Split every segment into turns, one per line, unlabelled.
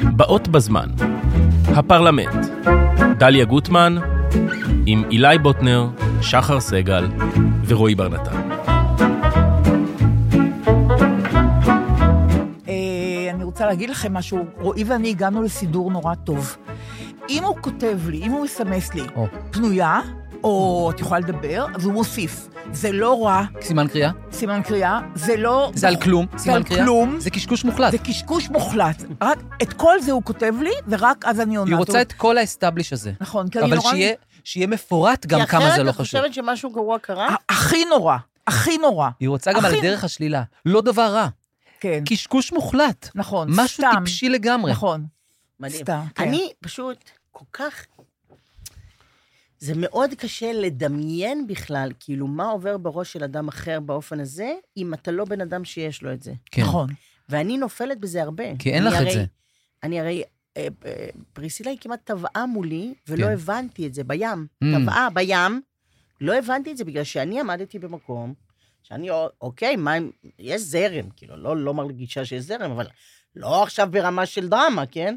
הבאות בזמן. הפרלמנט. דליה גוטמן, עם אילי בוטנר, שחר סגל ורועי בר נתן.
אה, אני רוצה להגיד לכם משהו, רועי ואני הגענו לסידור נורא טוב. אם הוא כותב לי, אם הוא מסמס לי,
או.
פנויה, או את יכולה לדבר, אז הוא מוסיף. זה לא רע,
סימן קריאה?
סימן קריאה, זה לא...
זה על כלום,
זה
סימן
על
קריאה?
כלום.
זה קשקוש מוחלט.
זה קשקוש מוחלט. רק את כל זה הוא כותב לי, ורק אז אני עונה.
היא
טוב,
רוצה את כל האסטאבליש הזה.
נכון, כי אני
אבל
נורא...
שיהיה- שיהיה מפורט גם כמה זה לא
כי אחרת את
חשוב. אה,
חושבת שמשהו גרוע קרה?
ה- הכי נורא, הכי נורא.
היא רוצה גם על
אחי-
דרך השלילה. לא דבר רע.
כן,
קשקוש מוחלט.
נכון,
משהו
סתם.
טיפשי לגמרי.
נכון,
מדהים.
סתם. כן.
אני פשוט כל כך... זה מאוד קשה לדמיין בכלל, כאילו, מה עובר בראש של אדם אחר באופן הזה, אם אתה לא בן אדם שיש לו את זה.
כן.
נכון.
ואני נופלת בזה הרבה.
כי אין
אני
לך את
הרי-
זה.
אני הרי... אה, אה, פריסילה היא כמעט טבעה מולי, ולא
כן.
הבנתי את זה, בים.
Mm.
טבעה בים, לא הבנתי את זה, בגלל שאני עמדתי במקום, שאני, א- אוקיי, מה אם... יש זרם, כאילו, לא לא מרגישה שיש זרם, אבל לא עכשיו ברמה של דרמה, כן?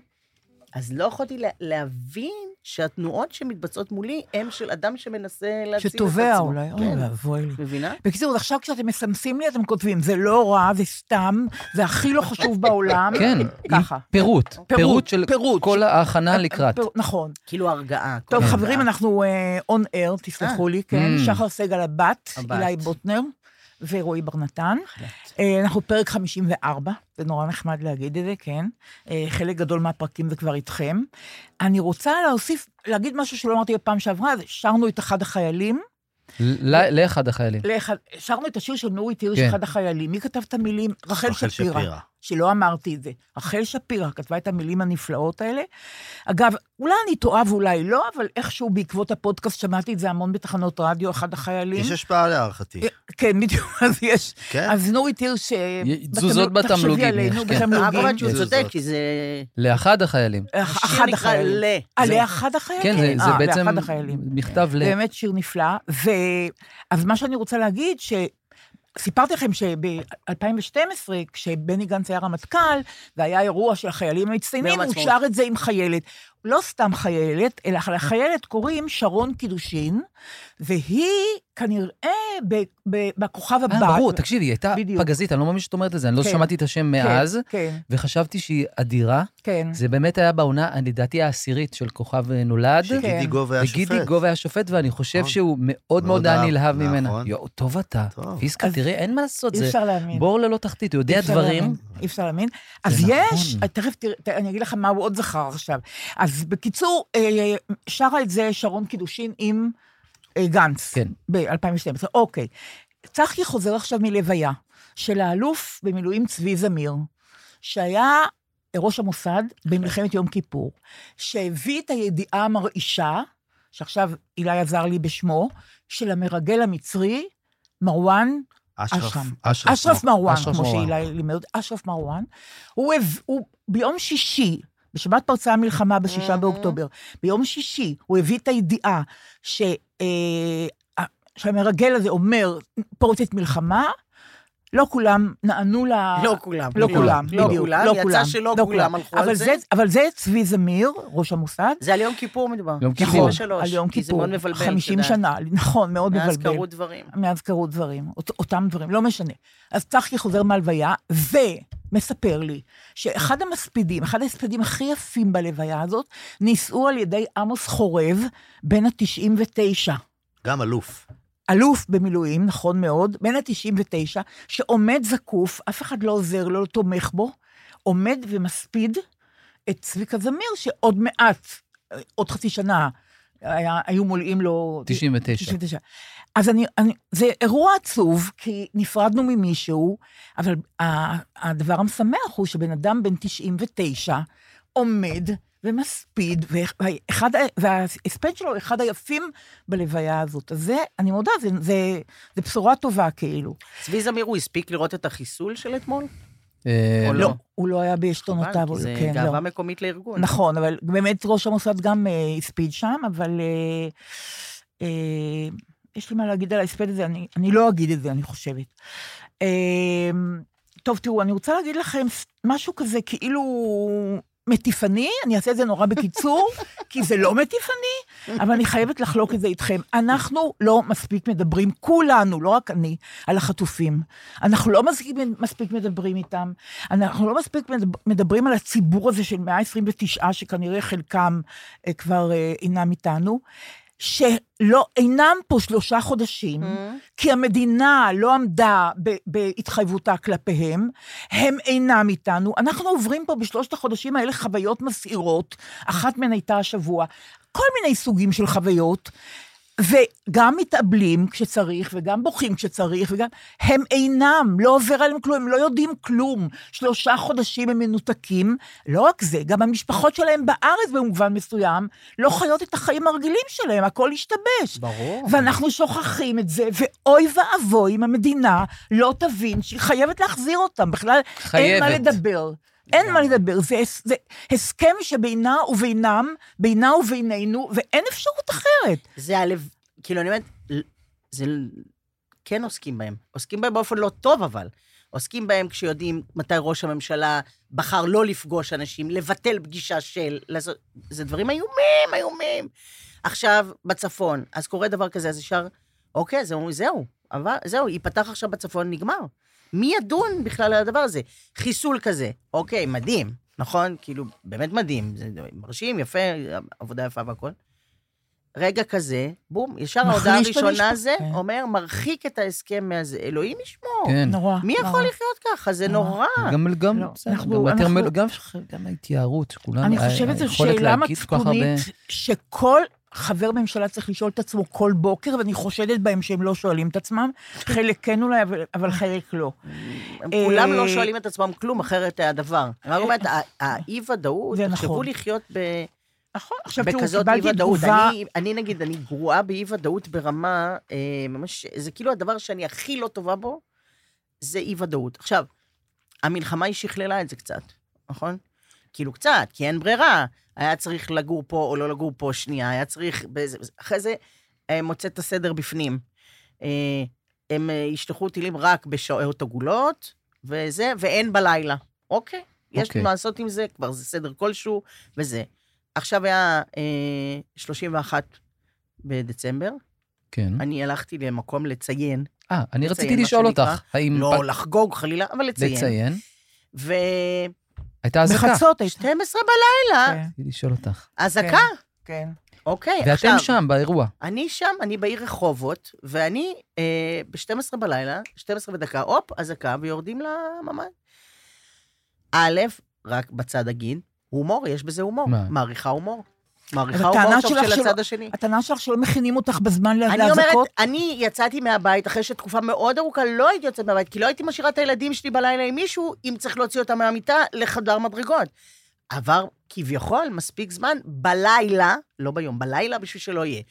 אז לא יכולתי לה, להבין שהתנועות שמתבצעות מולי הן של אדם שמנסה להציל את עצמו.
שתובע אולי, אוי
כן,
ואבוי לי.
מבינה?
בקיצור, אז עכשיו כשאתם מסמסים לי, אתם כותבים, זה לא רע, זה סתם, זה הכי לא חשוב בעולם.
כן.
אה, ככה.
עם פירוט. פירוט של
פירוט.
כל ההכנה לקראת. כן.
פר- נכון.
כאילו הרגעה. כל
טוב,
הרגעה.
חברים, אנחנו און אייר, תסלחו לי, כן?
Mm.
שחר סגל הבת,
הבת.
אילי בוטנר ורועי בר נתן. אה, אנחנו פרק 54, זה נורא נחמד להגיד את זה, כן? אה, חלק גדול מהפרקים זה כבר איתכם. אני רוצה להוסיף, להגיד משהו שלא אמרתי בפעם שעברה, אז שרנו את אחד החיילים,
ל- ל- לאחד החיילים.
לאחד- שרנו את השיר של נורית הירש,
כן.
אחד החיילים. מי כתב את המילים? רחל
רחל
שפירא.
שפירא.
שלא אמרתי את זה. רחל שפירא כתבה את המילים הנפלאות האלה. אגב, אולי אני טועה ואולי לא, אבל איכשהו בעקבות הפודקאסט שמעתי את זה המון בתחנות רדיו, אחד החיילים.
יש השפעה להערכתי.
כן, בדיוק, אז יש.
כן?
אז נורית הירש... אה,
י-
בתמל-
תזוזות בתמלוגים
תחשבי
יש,
עלינו
כן.
אה,
בתמלוגים.
אבל שהוא
זה
צודק,
זאת.
כי זה...
לאחד החיילים.
אח- אחד
השיר נקרא
החיילים.
ל...
אה,
זה-
לאחד החיילים?
כן, זה- זה
אה,
בעצם
לאחד החיילים.
מכתב ל...
באמת שיר נפלא. ו... אז מה שאני רוצה להגיד, ש... סיפרתי לכם שב-2012, כשבני גנץ היה רמטכ"ל, והיה אירוע של החיילים המצטיינים,
ביום
הוא
העצמאות.
שר את זה עם חיילת. לא סתם חיילת, אלא לחיילת קוראים שרון קידושין, והיא כנראה ב- ב- בכוכב הבא.
אה, ברור, תקשיבי, היא הייתה
בדיוק.
פגזית, אני לא מאמין שאת אומרת את זה, אני לא
כן.
שמעתי את השם
כן,
מאז,
כן,
וחשבתי שהיא אדירה.
כן.
זה באמת היה בעונה, אני לדעתי, העשירית של כוכב אה, נולד.
שגידי
כן.
גוב היה שופט.
וגידי גוב היה שופט, ואני חושב
נכון.
שהוא מאוד מאוד
מאוד
היה
אהב,
נלהב
נכון.
ממנה. יואו, טוב אתה.
טוב.
פיסקה,
אז
תראה, אין מה לעשות,
אי
זה
אפשר להאמין.
בור ללא תחתית, הוא יודע
אי אפשר
דברים.
להאמין, אי אפשר להאמין. אז
נכון.
יש, תכף תראה, ת- אני אגיד לך מה הוא עוד זכר עכשיו. אז בקיצור, אה, שרה את זה שרון קידושין עם אה, גנץ.
כן.
ב-2012, אוקיי. צחקי חוזר עכשיו מלוויה של האלוף במילואים צבי זמיר, שהיה ראש המוסד במלחמת יום כיפור, שהביא את הידיעה המרעישה, שעכשיו אילי עזר לי בשמו, של המרגל המצרי, מרואן אשרף. אשרף מרואן,
אשרף
כמו
מרואן.
שהילה לימד, אשרף מרואן. הוא, הב- הוא ביום שישי, בשבת פרצה המלחמה בשישה
מהמם.
באוקטובר, ביום שישי הוא הביא את הידיעה ש, אה, שהמרגל הזה אומר, פורצת מלחמה, לא כולם נענו ל...
לא כולם.
לא כולם,
לא
בדיוק,
כולם,
לא
יצא
כולם,
שלא
לא
כולם הלכו
אבל
על זה.
אבל זה צבי זמיר, ראש המוסד,
זה על יום כיפור מדובר.
יום כיפור.
נכון, שלוש,
על יום
כי זה
כיפור,
מאוד מבלבל,
50
את יודעת.
שנה, נכון, מאוד מבלבל.
מאז קרו דברים.
מאז קרו דברים, אות, אותם דברים, לא משנה. אז צחקי חוזר מהלוויה, ומספר לי שאחד המספידים, אחד ההספדים הכי יפים בלוויה הזאת, נישאו על ידי עמוס חורב, בן ה-99.
גם אלוף.
אלוף במילואים, נכון מאוד, בן ה-99, שעומד זקוף, אף אחד לא עוזר לו, לא תומך בו, עומד ומספיד את צביקה זמיר, שעוד מעט, אה, עוד חצי שנה, היה, היו מולאים לו...
99.
99. אז אני, אני, זה אירוע עצוב, כי נפרדנו ממישהו, אבל ה- הדבר המשמח הוא שבן אדם בן 99 עומד ומספיד, ואחד, ה- וההספד שלו הוא אחד היפים בלוויה הזאת. אז זה, אני מודה, זה, זה, זה בשורה טובה כאילו.
צבי זמיר, הוא הספיק לראות את החיסול של אתמול?
אה,
או
לא, הוא לא היה בעשתונותיו,
חבל, כי
הוא-
זה
כן, לא.
גאווה מקומית לארגון.
נכון, אבל באמת ראש המוסד גם אה, הספיד שם, אבל אה, אה, יש לי מה להגיד על ההספד הזה, אני, אני לא אגיד את זה, אני חושבת. אה, טוב, תראו, אני רוצה להגיד לכם ס- משהו כזה, כאילו מטיפני, אני אעשה את זה נורא בקיצור, כי זה לא מטיפני, אבל אני חייבת לחלוק את זה איתכם. אנחנו לא מספיק מדברים, כולנו, לא רק אני, על החטופים. אנחנו לא מספיק, מספיק מדברים איתם, אנחנו לא מספיק מדבר- מדברים על הציבור הזה של 129, שכנראה חלקם אה, כבר אה, אינם איתנו. שלא, אינם פה שלושה חודשים, כי המדינה לא עמדה ב, בהתחייבותה כלפיהם, הם אינם איתנו. אנחנו עוברים פה בשלושת החודשים האלה חוויות מסעירות, אחת מהן הייתה השבוע, כל מיני סוגים של חוויות, וגם מתאבלים כשצריך, וגם בוכים כשצריך, וגם... הם אינם, לא עובר עליהם כלום, הם לא יודעים כלום. שלושה חודשים הם מנותקים. לא רק זה, גם המשפחות שלהם בארץ במובן מסוים לא חיות את החיים הרגילים שלהם, הכל השתבש.
ברור.
ואנחנו שוכחים את זה, ואוי ואבוי אם המדינה לא תבין שהיא חייבת להחזיר אותם. בכלל, אין מה
חייבת.
לדבר. אין מה לדבר, זה, הס- זה הסכם שבינה ובינם, בינה ובינינו, ואין אפשרות אחרת.
זה הלב, כאילו, אני אומרת, ל- זה ל- כן עוסקים בהם. עוסקים בהם באופן לא טוב, אבל. עוסקים בהם כשיודעים מתי ראש הממשלה בחר לא לפגוש אנשים, לבטל פגישה של... לעשות... זה דברים איומים, איומים. עכשיו, בצפון, אז קורה דבר כזה, אז ישר, אוקיי, אז הם אומרים, זהו, אבל, זהו, ייפתח עכשיו בצפון, נגמר. מי ידון בכלל על הדבר הזה? חיסול כזה, אוקיי, מדהים, נכון? כאילו, באמת מדהים, זה מרשים, יפה, עבודה יפה והכול. רגע כזה, בום, ישר
מחליש
ההודעה
את המשפחה.
הראשונה זה,
כן.
אומר, מרחיק את ההסכם מהזה, אלוהים ישמור.
כן.
נורא.
מי
נורא.
יכול לחיות ככה? זה
נורא.
נורא.
גם, גם,
לא,
בסדר,
אנחנו-
גם הטרמל-
אנחנו-
גם גם ההתייערות, שכולם,
אני
ה-
חושבת שזו
היכולת
שאלה
לא, להגיד כל כך הרבה-
מצפונית שכל חבר ממשלה צריך לשאול את עצמו כל בוקר, ואני חושדת בהם שהם לא שואלים את עצמם. חלק כן אולי, אבל- אבל חלק לא.
הם כולם לא
אה,
שואלים את עצמם כלום, אחרת היה דבר. אני רק אומרת, ה- האי-ודאות,
זה
תחשבו
נכון.
לחיות ב-
נכון, עכשיו תראו,
בכזאת
קיבלתי
אי-ודאות.
תגובה...
אני- אני, נגיד, אני גרועה באי-ודאות ברמה, אה, ממש, זה כאילו הדבר שאני הכי לא טובה בו, זה אי-ודאות. עכשיו, המלחמה היא שכללה את זה קצת, נכון? כאילו קצת, כי אין ברירה. היה צריך לגור פה או לא לגור פה שנייה, היה צריך... באיזה- אחרי זה אה, מוצא את הסדר בפנים. אה, הם אה, ישלחו טילים רק בשעות עגולות, וזה, ואין בלילה. אוקיי, יש
אוקיי.
מה לעשות עם זה, כבר זה סדר כלשהו, וזה. עכשיו היה אה, 31 בדצמבר,
כן.
אני הלכתי למקום לציין,
אה, אני רציתי
מה
לשאול
שנקרא.
אותך, האם...
לא
פ-
לחגוג חלילה, אבל לציין.
לציין.
ו-12
הייתה אזעקה.
בחצות הייתה.
בלילה,
כן,
רציתי לשאול אותך.
אזעקה.
כן.
אוקיי,
ואתם
עכשיו,
שם, באירוע.
אני שם, אני בעיר רחובות, ואני אה, ב-12 בלילה, 12 בדקה, הופ, אזעקה, ויורדים לממ"ד. א', רק בצד הגין, הומור, יש בזה הומור.
מה?
מעריכה הומור. מעריכה
אבל
הומור
הטענה
טוב
שלך
של
שלא-
הצד השני.
הטענה שלך שלא מכינים אותך בזמן לה-
אני אומרת,
להזעקות?
אני יצאתי מהבית אחרי שתקופה מאוד ארוכה לא הייתי יוצאת מהבית, כי לא הייתי משאירה את הילדים שלי בלילה עם מישהו, אם צריך להוציא אותם מהמיטה לחדר מדרגות. עבר כביכול מספיק זמן בלילה, לא ביום, בלילה בשביל שלא יהיה.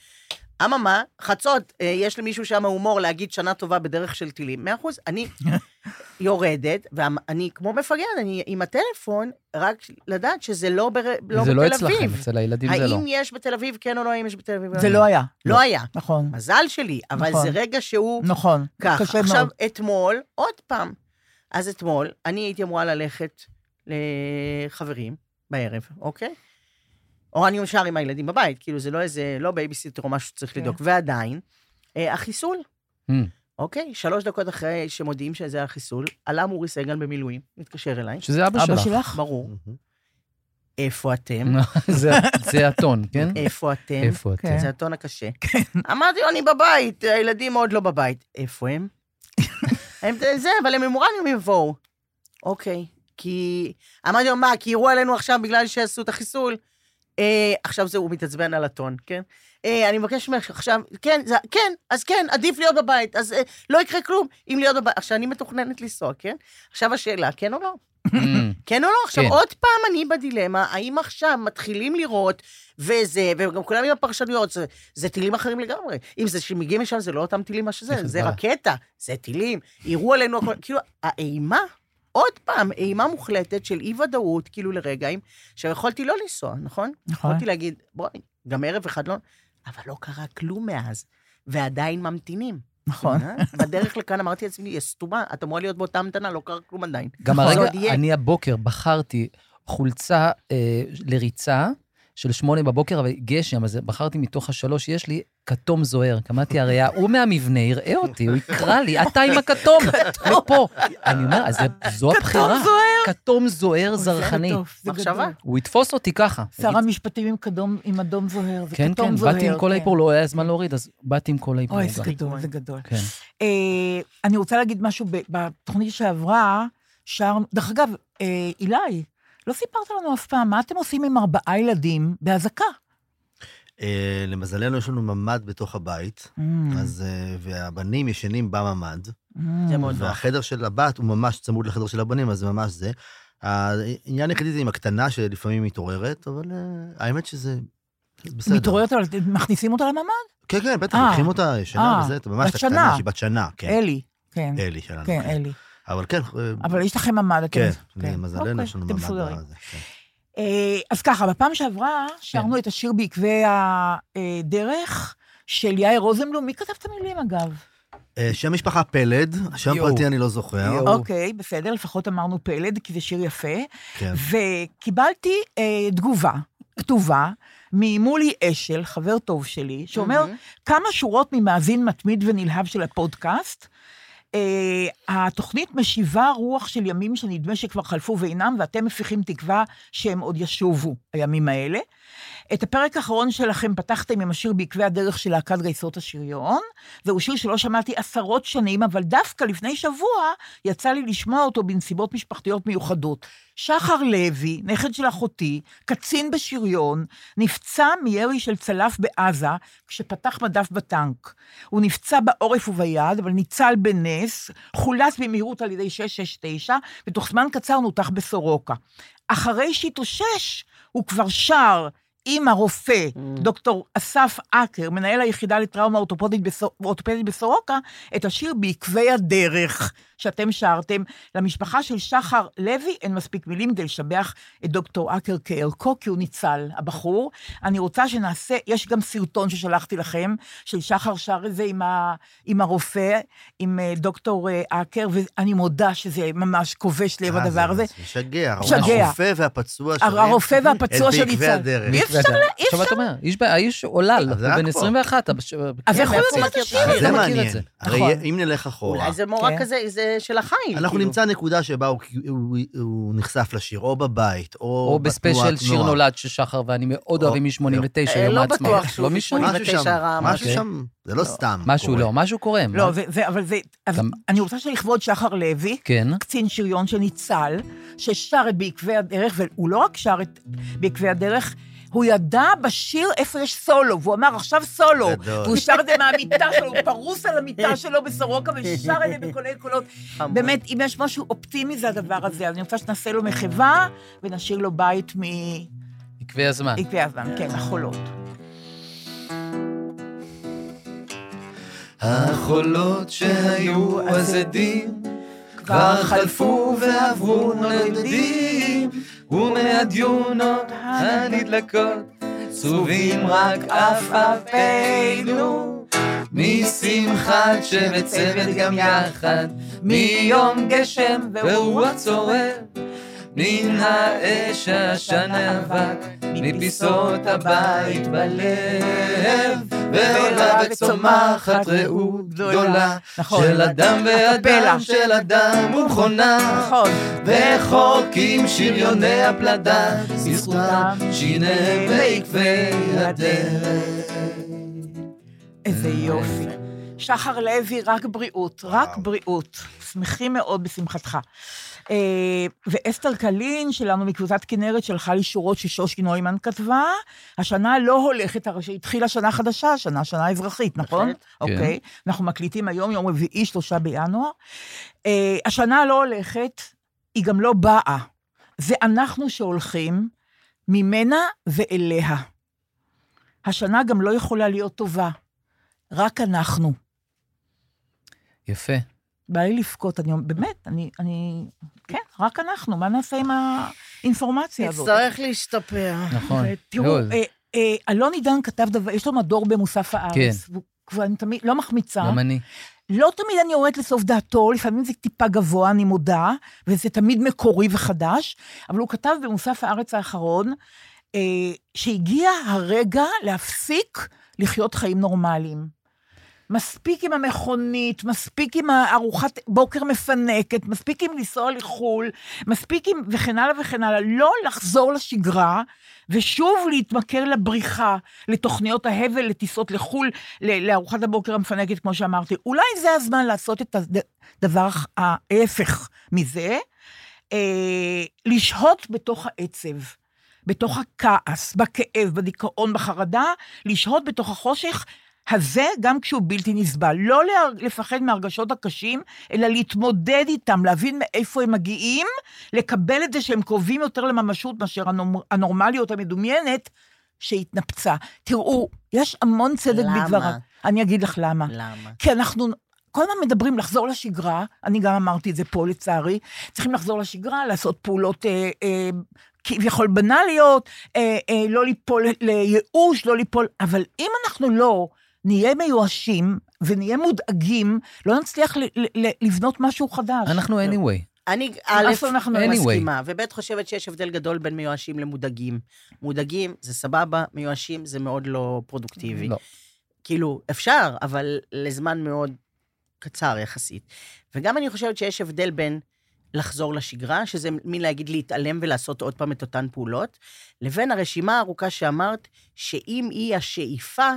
אממה, חצות, אה, יש למישהו שם הומור להגיד שנה טובה בדרך של טילים, מאה אחוז. אני יורדת, ואני כמו מפגרת, אני עם הטלפון, רק לדעת שזה לא, בר... לא
זה לא
בתל
אצלכם,
אביב.
אצל הילדים זה לא.
האם יש בתל אביב, כן או לא, האם יש בתל אביב?
זה לא היה.
לא היה.
נכון,
מזל שלי, אבל
נכון.
זה רגע שהוא
נכון.
ככה.
קשה
עכשיו,
מאוד.
אתמול, עוד פעם. אז אתמול, אני הייתי אמורה ללכת לחברים בערב, אוקיי? או אני נשאר עם הילדים בבית, כאילו זה לא איזה, לא בייביסיטר או משהו שצריך
כן.
לדאוג. ועדיין, אה, החיסול,
Mm,
אוקיי? שלוש דקות אחרי שמודיעים שזה החיסול, עלה מורי סגל במילואים, מתקשר אליי,
שזה אבא
אבא
שלך.
שלך?
ברור. איפה אתם?
זה- זה הטון, כן?
איפה אתם?
איפה אתם?
כן.
זה הטון הקשה. אמרתי לו, אני בבית, הילדים עוד לא בבית. איפה הם? הם זה, אבל הם אמורן הם יבואו. אוקיי, כי... אמרתי לו, מה, כי יראו עלינו עכשיו בגלל שעשו את החיסול? אה, עכשיו זה, הוא מתעצבן על הטון, כן? אה, אני מבקש ממך עכשיו, כן, זה, כן, אז כן, עדיף להיות בבית, אז אה, לא יקרה כלום אם להיות בבית. עכשיו, אני מתוכננת לנסוע, כן? עכשיו השאלה, כן או לא?
Mm.
כן או לא? עכשיו,
כן.
עוד פעם אני בדילמה, האם עכשיו מתחילים לראות, וזה, וגם כולם עם הפרשנויות, זה, זה טילים אחרים לגמרי. אם זה שמגיעים משם, זה לא אותם טילים מה שזה,
איך
זה
נדע?
רקטה, זה טילים, יראו עלינו הכל, כאילו, האימה, עוד פעם, אימה מוחלטת של אי-ודאות, כאילו לרגעים, שיכולתי לא לנסוע,
אה.
נכון?
נכון.
יכולתי להגיד, בואי, גם ערב אחד לא, אבל לא קרה כלום מאז, ועדיין ממתינים.
נכון.
אה? בדרך לכאן אמרתי לעצמי, יא סתומה, את אמורה להיות באותה המתנה, לא קרה כלום עדיין.
גם
נכון,
הרגע,
עוד יהיה.
אני הבוקר בחרתי חולצה אה, לריצה של שמונה בבוקר, אבל גשם, אז בחרתי מתוך השלוש שיש לי כתום זוהר. קמדתי הראייה, הוא מהמבנה יראה אותי, הוא יקרא לי, אתה עם הכתום, לפה. אני אומר, אז זה- זו הבחירה.
זוהר. לא
כתום זוהר זרחני.
מחשבה.
הוא יתפוס אותי ככה.
שר המשפטים עם כדום- עם אדום זוהר, זה
כן,
כתום
כן,
זוהר.
באתי עם כל האיפור, לא היה זמן להוריד, אז באתי עם כל האיפור.
אוי, זה
גם.
גדול, זה גדול.
כן.
אה, אני רוצה להגיד משהו, ב- בתוכנית שעברה, שרנו, דרך אגב, אה, אילי, לא סיפרת לנו אף פעם, מה אתם עושים עם ארבעה ילדים באזעקה?
אה, למזלנו, יש לנו ממ"ד בתוך הבית, אז, אה, והבנים ישנים בממ"ד,
Mm.
זה מאוד נוח.
והחדר של הבת הוא ממש צמוד לחדר של הבנים, אז זה ממש זה. העניין היחידי זה עם הקטנה, שלפעמים מתעוררת, אבל אה, האמת שזה בסדר.
מתעוררת, אבל אתם מכניסים אותה לממ"ד?
כן, כן, בטח,
אה.
לוקחים אותה
אה,
ישנה וזה, את ממש
בת
את הקטנה,
שנה.
שהיא בת שנה, כן.
אלי. כן,
אלי שלנו,
כן,
כן.
אלי.
אבל כן, אה,
אבל יש לכם ממ"ד, אתם...
כן,
כן.
למזלנו
אוקיי,
יש לנו
אתם
ממ"ד.
מסודרים.
בזה, כן.
אה, אז ככה, בפעם שעברה שרנו את השיר בעקבי הדרך של יאיר רוזנבלום. מי כתב את המילים, אגב?
אה, שם משפחה פלד, שם
יואו.
פרטי אני לא זוכר.
יואו.
אוקיי, בסדר, לפחות אמרנו פלד, כי זה שיר יפה.
כן.
וקיבלתי אה, תגובה כתובה ממולי אשל, חבר טוב שלי, שאומר
מהמם.
כמה שורות ממאזין מתמיד ונלהב של הפודקאסט. אה, התוכנית משיבה רוח של ימים שנדמה שכבר חלפו ואינם, ואתם מפיחים תקווה שהם עוד ישובו, הימים האלה. את הפרק האחרון שלכם פתחתם עם השיר בעקבי הדרך של להקת גייסות השריון. זהו שיר שלא שמעתי עשרות שנים, אבל דווקא לפני שבוע יצא לי לשמוע אותו בנסיבות משפחתיות מיוחדות. שחר לוי, נכד של אחותי, קצין בשריון, נפצע מירי של צלף בעזה כשפתח מדף בטנק. הוא נפצע בעורף וביד, אבל ניצל בנס, חולץ במהירות על ידי 669, ותוך זמן קצר נותח בסורוקה. אחרי שהתאושש, הוא כבר שר עם הרופא, דוקטור אסף אקר, מנהל היחידה לטראומה אורתופדית בסור- אורתופדית בסורוקה, את השיר בעקבי הדרך שאתם שרתם. למשפחה של שחר לוי אין מספיק מילים כדי לשבח את דוקטור אקר כערכו, כי הוא ניצל, הבחור. אני רוצה שנעשה, יש גם סרטון ששלחתי לכם, של שחר שר את זה עם, ה, עם הרופא, עם אה, דוקטור אה, אקר, ואני מודה שזה ממש כובש לב
אה, זה-
הדבר אוקיי, הזה.
זה משגע.
משגע.
הרופא והפצוע שרים
הרופא והפצוע
את
שניצל.
בעקבי הדרך.
אי אפשר ל... אי אפשר
עכשיו אתה אומר, איש ב- האיש עולל,
אבל זה
הוא
רק
בן
פה.
21. הבש-
אז
כן,
איך הוא
מאפס.
יודע את השיר?
אני לא
זה
מכיר את
מעניין.
זה.
הרי
נכון.
אם נלך אחורה,
אולי זה מורה
כן.
כזה, זה של החיים.
אנחנו
כאילו.
נמצא נקודה שבה הוא- הוא- הוא נחשף לשיר, או בבית, או
או
בתנועת
בספיישל שיר
נוער.
נולד של שחר ואני מאוד
או-
אוהבים מ-89,
אה,
יום
לא
העצמאות.
בטוח שהוא
משנה.
טיפולי.
משהו שם,
89 רם.
משהו
אוקיי.
שם, זה לא סתם.
משהו
קורה.
לא, משהו קורה. מה?
לא, זה, זה, אבל זה... אז
גם-
אני רוצה שלכבוד שחר לוי,
כן.
קצין שריון שניצל, ששר את בעקבי הדרך, והוא לא רק שר את בעקבי הדרך, הוא ידע בשיר איפה יש סולו, והוא אמר, עכשיו סולו.
גדול.
והוא שר את זה מהמיטה שלו, הוא פרוס על המיטה שלו בסורוקה, ושר את זה בקולי קולות.
חמוד.
באמת, אם יש משהו אופטימי זה הדבר הזה, אז אני רוצה שנעשה לו מחווה, ונשאיר לו בית מעקבי
עקבי הזמן.
הזמן, כן, החולות.
החולות שהיו אז עדים כבר חלפו ועברו נודדים ומהדיונות הנדלקות צרובים רק עפעפינו משמחת שמצבת גם יחד מיום גשם ורוח צורר מן האש עשן האבק מפיסות הבית בלב ועולה וצומחת רעות גדולה
נכון.
של אדם ואדם,
הקפלה.
של אדם ומכונה,
נכון.
וחורקים שריוני הפלדה, בזכותם שיניהם בעקבי הדרך.
איזה יופי. שחר לוי, רק בריאות, רק בריאות. שמחים מאוד בשמחתך. אה, ואסתר קלין שלנו מקבוצת כנרת שלחה לי שורות ששושי נוימן כתבה, השנה לא הולכת, הרי שהתחילה שנה חדשה, שנה, שנה אזרחית, נכון?
בהחלט.
אוקיי. אנחנו מקליטים היום, יום רביעי, שלושה בינואר. אה, השנה לא הולכת, היא גם לא באה. זה אנחנו שהולכים ממנה ואליה. השנה גם לא יכולה להיות טובה, רק אנחנו.
יפה.
בא לי לבכות, אני אומרת, באמת, אני, אני, כן, רק אנחנו, מה נעשה עם האינפורמציה הזאת?
נצטרך להשתפר.
נכון.
תראו, אה, אה, אלון עידן כתב דבר, יש לו מדור במוסף הארץ.
כן.
והוא ואני תמיד לא מחמיצה.
גם אני.
לא תמיד אני יורדת לסוף דעתו, לפעמים זה טיפה גבוה, אני מודה, וזה תמיד מקורי וחדש, אבל הוא כתב במוסף הארץ האחרון, אה, שהגיע הרגע להפסיק לחיות חיים נורמליים. מספיק עם המכונית, מספיק עם הארוחת בוקר מפנקת, מספיק עם לנסוע לחו"ל, מספיק עם וכן הלאה וכן הלאה. לא לחזור לשגרה, ושוב להתמכר לבריחה, לתוכניות ההבל, לטיסות לחו"ל, ל- לארוחת הבוקר המפנקת, כמו שאמרתי. אולי זה הזמן לעשות את הדבר ההפך מזה, אה, לשהות בתוך העצב. בתוך הכעס, בכאב, בדיכאון, בחרדה, לשהות בתוך החושך, הזה גם כשהוא בלתי נסבל. לא להר- לפחד מהרגשות הקשים, אלא להתמודד איתם, להבין מאיפה הם מגיעים, לקבל את זה שהם קרובים יותר לממשות מאשר הנומ- הנורמליות המדומיינת שהתנפצה. תראו, יש המון צדק
למה?
בדבריו. אני אגיד לך למה.
למה?
כי אנחנו כל הזמן מדברים לחזור לשגרה, אני גם אמרתי את זה פה לצערי, צריכים לחזור לשגרה, לעשות פעולות אה, אה, כביכול בנאליות, אה, אה, לא ליפול לייאוש, לא ליפול, אבל אם אנחנו לא נהיה מיואשים ונהיה מודאגים, לא נצליח ל- ל- ל- לבנות משהו חדש.
אנחנו anyway.
אני, א',
אף פעם אנחנו
לא
מסכימה, וב', חושבת שיש הבדל גדול בין מיואשים למודאגים. מודאגים זה סבבה, מיואשים זה מאוד לא פרודוקטיבי.
לא.
כאילו, אפשר, אבל לזמן מאוד קצר יחסית. וגם אני חושבת שיש הבדל בין לחזור לשגרה, שזה מין להגיד להתעלם ולעשות עוד פעם את אותן פעולות, לבין הרשימה הארוכה שאמרת, שאם היא השאיפה,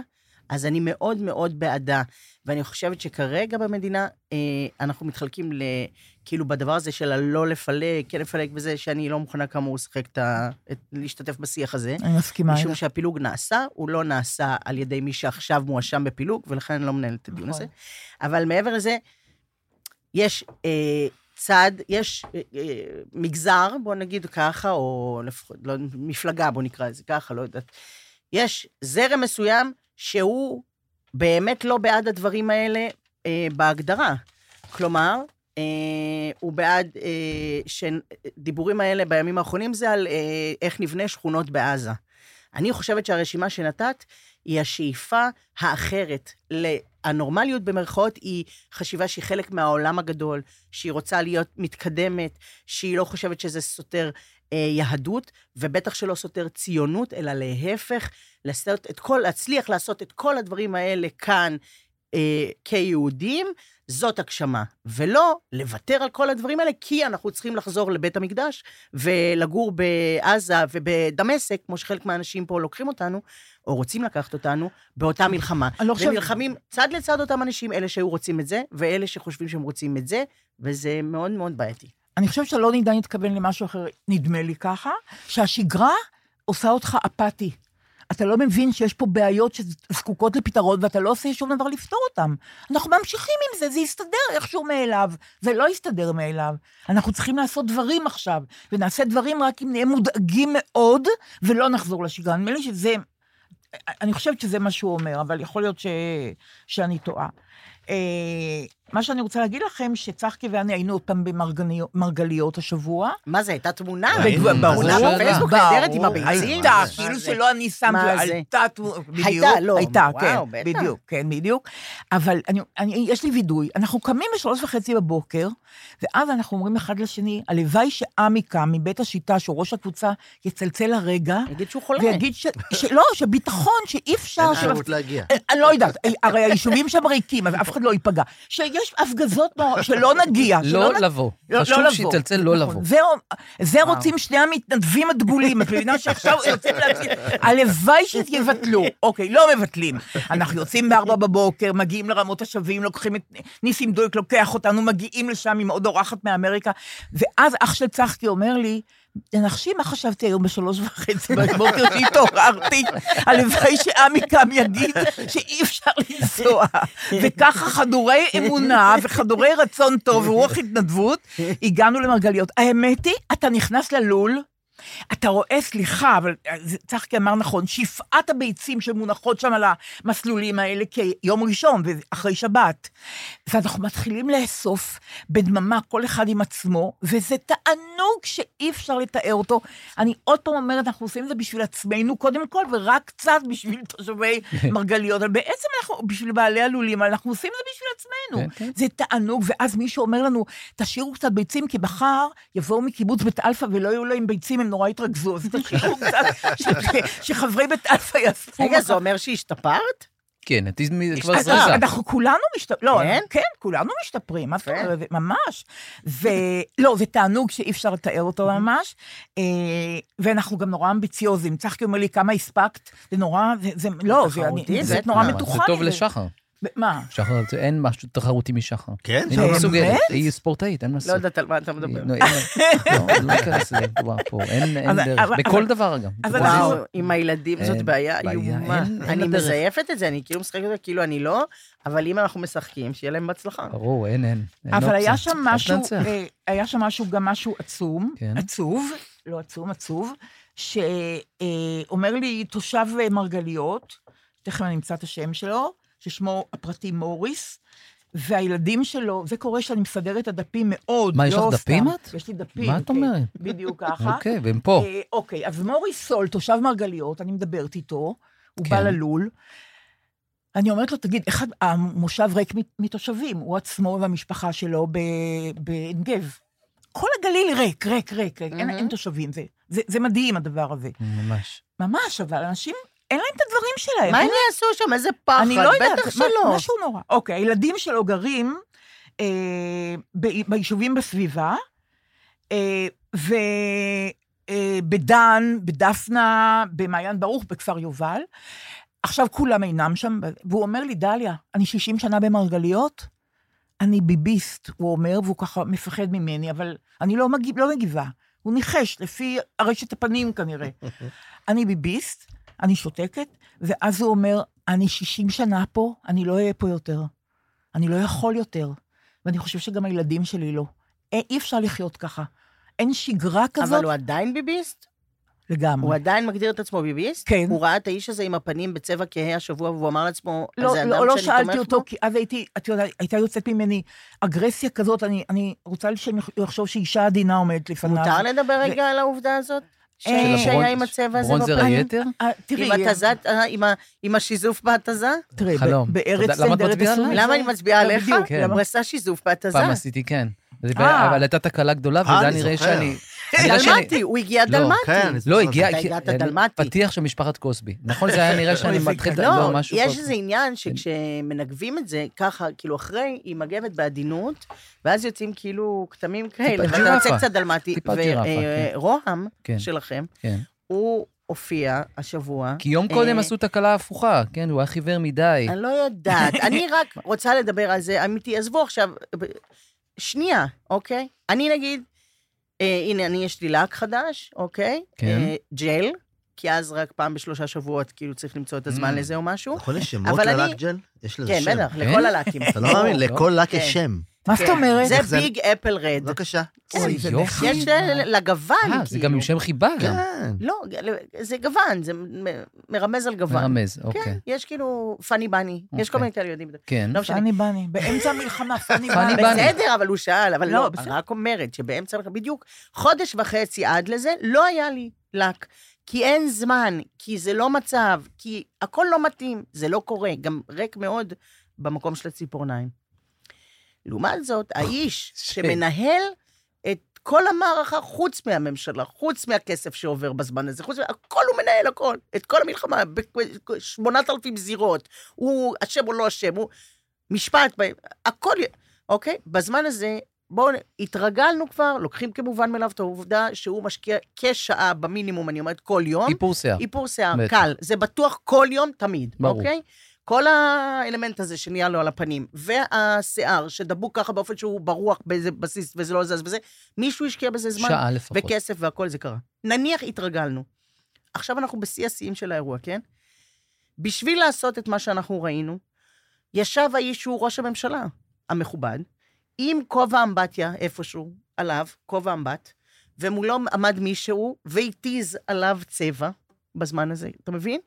אז אני מאוד מאוד בעדה. ואני חושבת שכרגע במדינה אה, אנחנו מתחלקים ל... כאילו בדבר הזה של הלא לפלג, כן לפלג וזה, שאני לא מוכנה כאמור לשחק את ה... את... להשתתף בשיח הזה.
אני מסכימה.
משום
איתך.
שהפילוג נעשה, הוא לא נעשה על ידי מי שעכשיו מואשם בפילוג, ולכן אני לא מנהלת את הדיון
נכון.
הזה. אבל מעבר לזה, יש אה, צד, יש אה, אה, מגזר, בוא נגיד ככה, או לפחות, לא, מפלגה, בוא נקרא לזה ככה, לא יודעת. יש זרם מסוים שהוא באמת לא בעד הדברים האלה אה, בהגדרה. כלומר, אה, הוא בעד, אה, שדיבורים האלה בימים האחרונים זה על אה, איך נבנה שכונות בעזה. אני חושבת שהרשימה שנתת היא השאיפה האחרת. ל- הנורמליות במרכאות היא חשיבה שהיא חלק מהעולם הגדול, שהיא רוצה להיות מתקדמת, שהיא לא חושבת שזה סותר אה, יהדות, ובטח שלא סותר ציונות, אלא להפך, לעשות את כל, להצליח לעשות את כל הדברים האלה כאן אה, כיהודים, זאת הגשמה. ולא לוותר על כל הדברים האלה, כי אנחנו צריכים לחזור לבית המקדש ולגור בעזה ובדמשק, כמו שחלק מהאנשים פה לוקחים אותנו, או רוצים לקחת אותנו, באותה מלחמה.
אני לא חושבת-
ונלחמים צד לצד אותם אנשים, אלה שהיו רוצים את זה, ואלה שחושבים שהם רוצים את זה, וזה מאוד מאוד בעייתי.
אני חושבת שלא ניתן להתכוון למשהו אחר, נדמה לי ככה, שהשגרה עושה אותך אפאתי. אתה לא מבין שיש פה בעיות שזקוקות לפתרון, ואתה לא עושה שום דבר לפתור אותן. אנחנו ממשיכים עם זה, זה יסתדר איכשהו מאליו. זה לא יסתדר מאליו. אנחנו צריכים לעשות דברים עכשיו, ונעשה דברים רק אם נהיה מודאגים מאוד, ולא נחזור לשגרה. נדמה לי שזה... אני חושבת שזה מה שהוא אומר, אבל יכול להיות ש... שאני טועה. אה, מה שאני רוצה להגיד לכם, שצחקי ואני היינו עוד פעם במרגליות מרגליות השבוע.
מה זה, הייתה תמונה?
ראינו,
תמונה
מה זה
ברור,
בפייסבוק
ברור.
נהדרת עם הביצים?
הייתה,
מה זה?
כאילו שלא אני שמתי,
מה זה?
עלתה, תמו- בדיוק.
לא,
הייתה, כן,
וואו, בטח.
בדיוק, כן, בדיוק. אבל אני- אני- יש לי וידוי, אנחנו קמים בשלוש וחצי בבוקר, ואז אנחנו אומרים אחד לשני, הלוואי שעמיקה מבית השיטה, שהוא ראש הקבוצה, יצלצל הרגע,
יגיד שהוא חולה.
ויגיד ש... שלא, שביטחון, שאי אפשר...
אין
ש-
אפשרות להגיע.
אה, אני לא יודעת, אה, הרי היישובים שם ריקים, אז אף אחד לא ייפגע. שיש הפגזות נורא, שלא נגיע, שלא
לא
נגיע.
לבוא.
לא-
חשוב
לא לבוא.
שיצלצל לא
נכון.
לבוא.
זה, זה רוצים שני המתנדבים הדגולים, את מבינה שעכשיו יוצאים להציל... הלוואי שיבטלו. אוקיי, לא מבטלים. אנחנו יוצאים בארבע בבוקר, מגיעים לרמות השבים, לוקחים את ניסים דויק, לוקח אותנו, מגיעים לשם עם עוד אורחת מאמריקה, ואז אח של צחקי אומר לי, תנחשי מה חשבתי היום בשלוש וחצי בבוקר שהתעוררתי, הלוואי שעמיקם יגיד שאי אפשר לנסוע. וככה חדורי אמונה וחדורי רצון טוב ורוח התנדבות, הגענו למרגליות. האמת היא, אתה נכנס ללול, אתה רואה, סליחה, אבל אה, זה- צחקי אמר נכון, שפעת הביצים שמונחות שם על המסלולים האלה כיום ראשון ואחרי שבת. ואנחנו מתחילים לאסוף בדממה, כל אחד עם עצמו, וזה תענוג שאי אפשר לתאר אותו. אני עוד פעם אומרת, אנחנו עושים את זה בשביל עצמנו קודם כל, ורק קצת בשביל תושבי מרגליות, אבל בעצם אנחנו, בשביל בעלי הלולים, אבל אנחנו עושים את זה בשביל עצמנו.
כן, כן.
זה תענוג, ואז מישהו אומר לנו, תשאירו קצת ביצים, כי מחר יבואו מקיבוץ בית אלפא ולא יהיו להם ביצים, הם נורא יתרגזו, אז תשאירו קצת, ש- ש- שחברי בית אלפא יעשו.
רגע, זה אומר שהשתפרת?
כן, את הזמי- כבר
השתפרת.
אנחנו-
זריזה.
אנחנו כולנו משתפרים, לא,
כן?
כן, כולנו משתפרים, מה זאת
כן.
אומרת, זה ממש. ולא, זה תענוג שאי אפשר לתאר אותו ממש, אה, ואנחנו גם נורא אמביציוזים. צחקי אומר לי, כמה הספקת? זה נורא, זה- זה, לא, זה אני-
תחרותי,
זה
בטח.
נורא
למה?
מתוחה.
זה טוב
לי,
לשחר.
מה?
שחר, זה- אין משהו תחרותי משחר.
כן?
היא לא
באמת?
מסוגלת, היא ספורטאית, אין מה
לא
לעשות.
יודעת על מה אתה
היא-
מדבר.
לא, אין- לא, לא ניכנס לזה כבר פה, אין אין
אבל-
דרך.
אבל-
בכל
אבל-
דבר גם.
אבל
וואו.
אנחנו-
וואו, עם הילדים זאת
אין,
בעיה
בעיה,
איומה.
אין- אין
אני
לה דרך.
מזייפת את זה, אני כאילו משחקת אותה, כאילו אני לא, אבל אם אנחנו משחקים, שיהיה להם בהצלחה.
ברור, אין, אין. אין
אה, אבל
אופציה.
היה שם
חייב
משהו,
לנצח.
אה, היה שם משהו, גם משהו עצום,
כן.
עצוב, לא עצום, עצוב, שאומר לי תושב אה, מרגליות, תכף אני אמצא את השם שלו, ששמו הפרטי מוריס, והילדים שלו, זה קורה שאני מסדרת את הדפים מאוד,
מה, יש
לא
לך
סתם.
דפים את?
יש לי דפים.
מה את
כן,
אומרת?
בדיוק ככה.
אוקיי, והם פה.
אה, אוקיי, אז מורי סול, תושב מרגליות, אני מדברת איתו, הוא
כן.
בא ללול. אני אומרת לו, תגיד, אחד, המושב ריק מת- מתושבים, הוא עצמו והמשפחה שלו ב- בעין גב. כל הגליל ריק, ריק, ריק, ריק, אין-
מהמם.
אין תושבים, זה- זה- זה מדהים הדבר הזה.
אה,
ממש.
ממש, אבל אנשים, אין להם את הדברים שלהם.
מה הם יעשו שם? איזה פחד,
אני לא יודעת,
בטח
מה-
שלא.
משהו נורא. אוקיי, הילדים שלו גרים אה, ב- ביישובים בסביבה, אה, ו... אה, בדן, בדפנה, במעיין ברוך, בכפר יובל. עכשיו כולם אינם שם, והוא אומר לי, דליה, אני 60 שנה במרגליות, אני ביביסט, הוא אומר, והוא ככה מפחד ממני, אבל אני לא, מגיב, לא מגיבה. הוא ניחש, לפי ארשת הפנים כנראה. אני ביביסט, אני שותקת, ואז הוא אומר, אני 60 שנה פה, אני לא אהיה פה יותר. אני לא יכול יותר. ואני חושב שגם הילדים שלי לא. אי אי אפשר לחיות ככה. אין שגרה כזאת
אבל הוא עדיין ביביסט?
Mm.
לגמרי.
הוא עדיין מגדיר את עצמו ביביסט?
כן.
הוא ראה את האיש הזה עם הפנים בצבע כהה השבוע, והוא אמר לעצמו,
לא,
זה אדם
לא, לא
שאני
שאלתי
תומך
אותו,
בו?
כי אז הייתי, את יודעת, הייתה יוצאת ממני אגרסיה כזאת, אני, אני רוצה שהוא יחשוב שאישה עדינה עומדת לפניו.
מותר לדבר רגע על העובדה הזאת?
אה,
שהאיש היה עם
ברונז-
הצבע הזה
ברונזר
בפנים?
היתר?
אה, תראי,
עם התזת, אה, עם ה- עם השיזוף בהתזה?
תראי, ב-
חלום.
בארץ
אתה יודע, למה את
סנדרת
מצביעה עליי?
הסורים.
למה אני מצביעה
לא,
עליך?
בדיוק,
כן.
הוא עשה שיזוף בהתזה.
פעם עשיתי כן. זה
אה.
בעיה, אבל הייתה תקלה גדולה,
אה,
וזה היה
אני
נראה
זוכר.
שאני... נראה שאני-
דלמטי, הוא הגיע
לא,
כן, אני
דלמטי.
זוכר
לא,
את
הגיע...
אתה
כי-
הגעת
אני-
דלמטי.
פתיח של משפחת קוסבי. נכון, זה היה נראה שאני
אוי, זה
מתחיל...
קטן.
לא,
לא,
משהו כן.
יש
כזה.
איזה עניין שכשמנגבים את זה ככה, כאילו אחרי, היא מגבת בעדינות, ואז יוצאים כאילו כתמים כאלה, ואתה
ג'ירפה.
יוצא קצת דלמטי.
טיפה ג'ירפה, כן.
ורוהם
כן.
שלכם,
כן.
הוא הופיע השבוע.
כי יום
אה,
קודם עשו תקלה הפוכה, כן, הוא היה חיוור מדי.
אני לא יודעת, אני רק רוצה לדבר על זה, אמיתי, עזבו עכשיו, ב- שנייה, אוקיי? אני נגיד, אה, הנה, אני, יש לי לק חדש, אוקיי?
כן.
אה, ג'ל, כי אז רק פעם בשלושה שבועות, כאילו, צריך למצוא את הזמן
Mm.
לזה או משהו.
נכון, יש שמות
אבל אני-
ללק ג'ל? יש לזה
כן,
שם.
בטח,
כן?
לכל הלקים.
אתה לא מאמין,
לא.
לכל לק
כן.
יש שם.
מה זאת
כן.
אומרת?
איך
זה
זה-
ביג אפל רד.
בבקשה.
אוי,
איזה
זה
יופי.
נחמד.
יש ל- לגוון,
אה,
כאילו.
זה גם עם שם חיבה גם.
כן.
לא, זה גוון, זה מ- מרמז על גוון.
מרמז,
כן,
אוקיי.
יש כאילו פאני בני, יש כל
אוקיי.
מיני כאלה יודעים את זה.
כן.
לא משנה.
פאני בני, באמצע המלחמה, פאני
פאני
בני.
בני.
בסדר, אבל הוא שאל, אבל
לא,
לא,
בסדר.
רק אומרת שבאמצע, בדיוק חודש וחצי עד לזה, לא היה לי לק. כי אין זמן, כי זה לא מצב, כי הכל לא מתאים, זה לא קורה, גם ריק מאוד במקום של הציפורניים. לעומת זאת,
אה,
האיש שמנהל את כל המערכה, חוץ מהממשלה, חוץ מהכסף שעובר בזמן הזה, חוץ מה... הכל הוא מנהל, הכל. את כל המלחמה, בשמונת אלפים זירות, הוא אשם או לא אשם, הוא משפט, ב- הכל... אוקיי? בזמן הזה, בואו, התרגלנו כבר, לוקחים כמובן מאליו את העובדה שהוא משקיע כשעה במינימום, אני אומרת, כל יום.
איפור שיער.
נכון? איפור שיער,
בטח.
קל. זה בטוח כל יום, תמיד,
ברור.
אוקיי? כל האלמנט הזה שנהיה לו על הפנים, והשיער שדבוק ככה באופן שהוא ברוח באיזה בסיס וזה לא זז וזה, מישהו השקיע בזה זמן.
שעה לפחות.
וכסף והכל זה קרה. נניח התרגלנו. עכשיו אנחנו בשיא השיאים של האירוע, כן? בשביל לעשות את מה שאנחנו ראינו, ישב האיש שהוא ראש הממשלה המכובד, עם כובע אמבטיה איפשהו, עליו, כובע אמבט, ומולו עמד מישהו והתיז עליו צבע בזמן הזה, אתה מבין?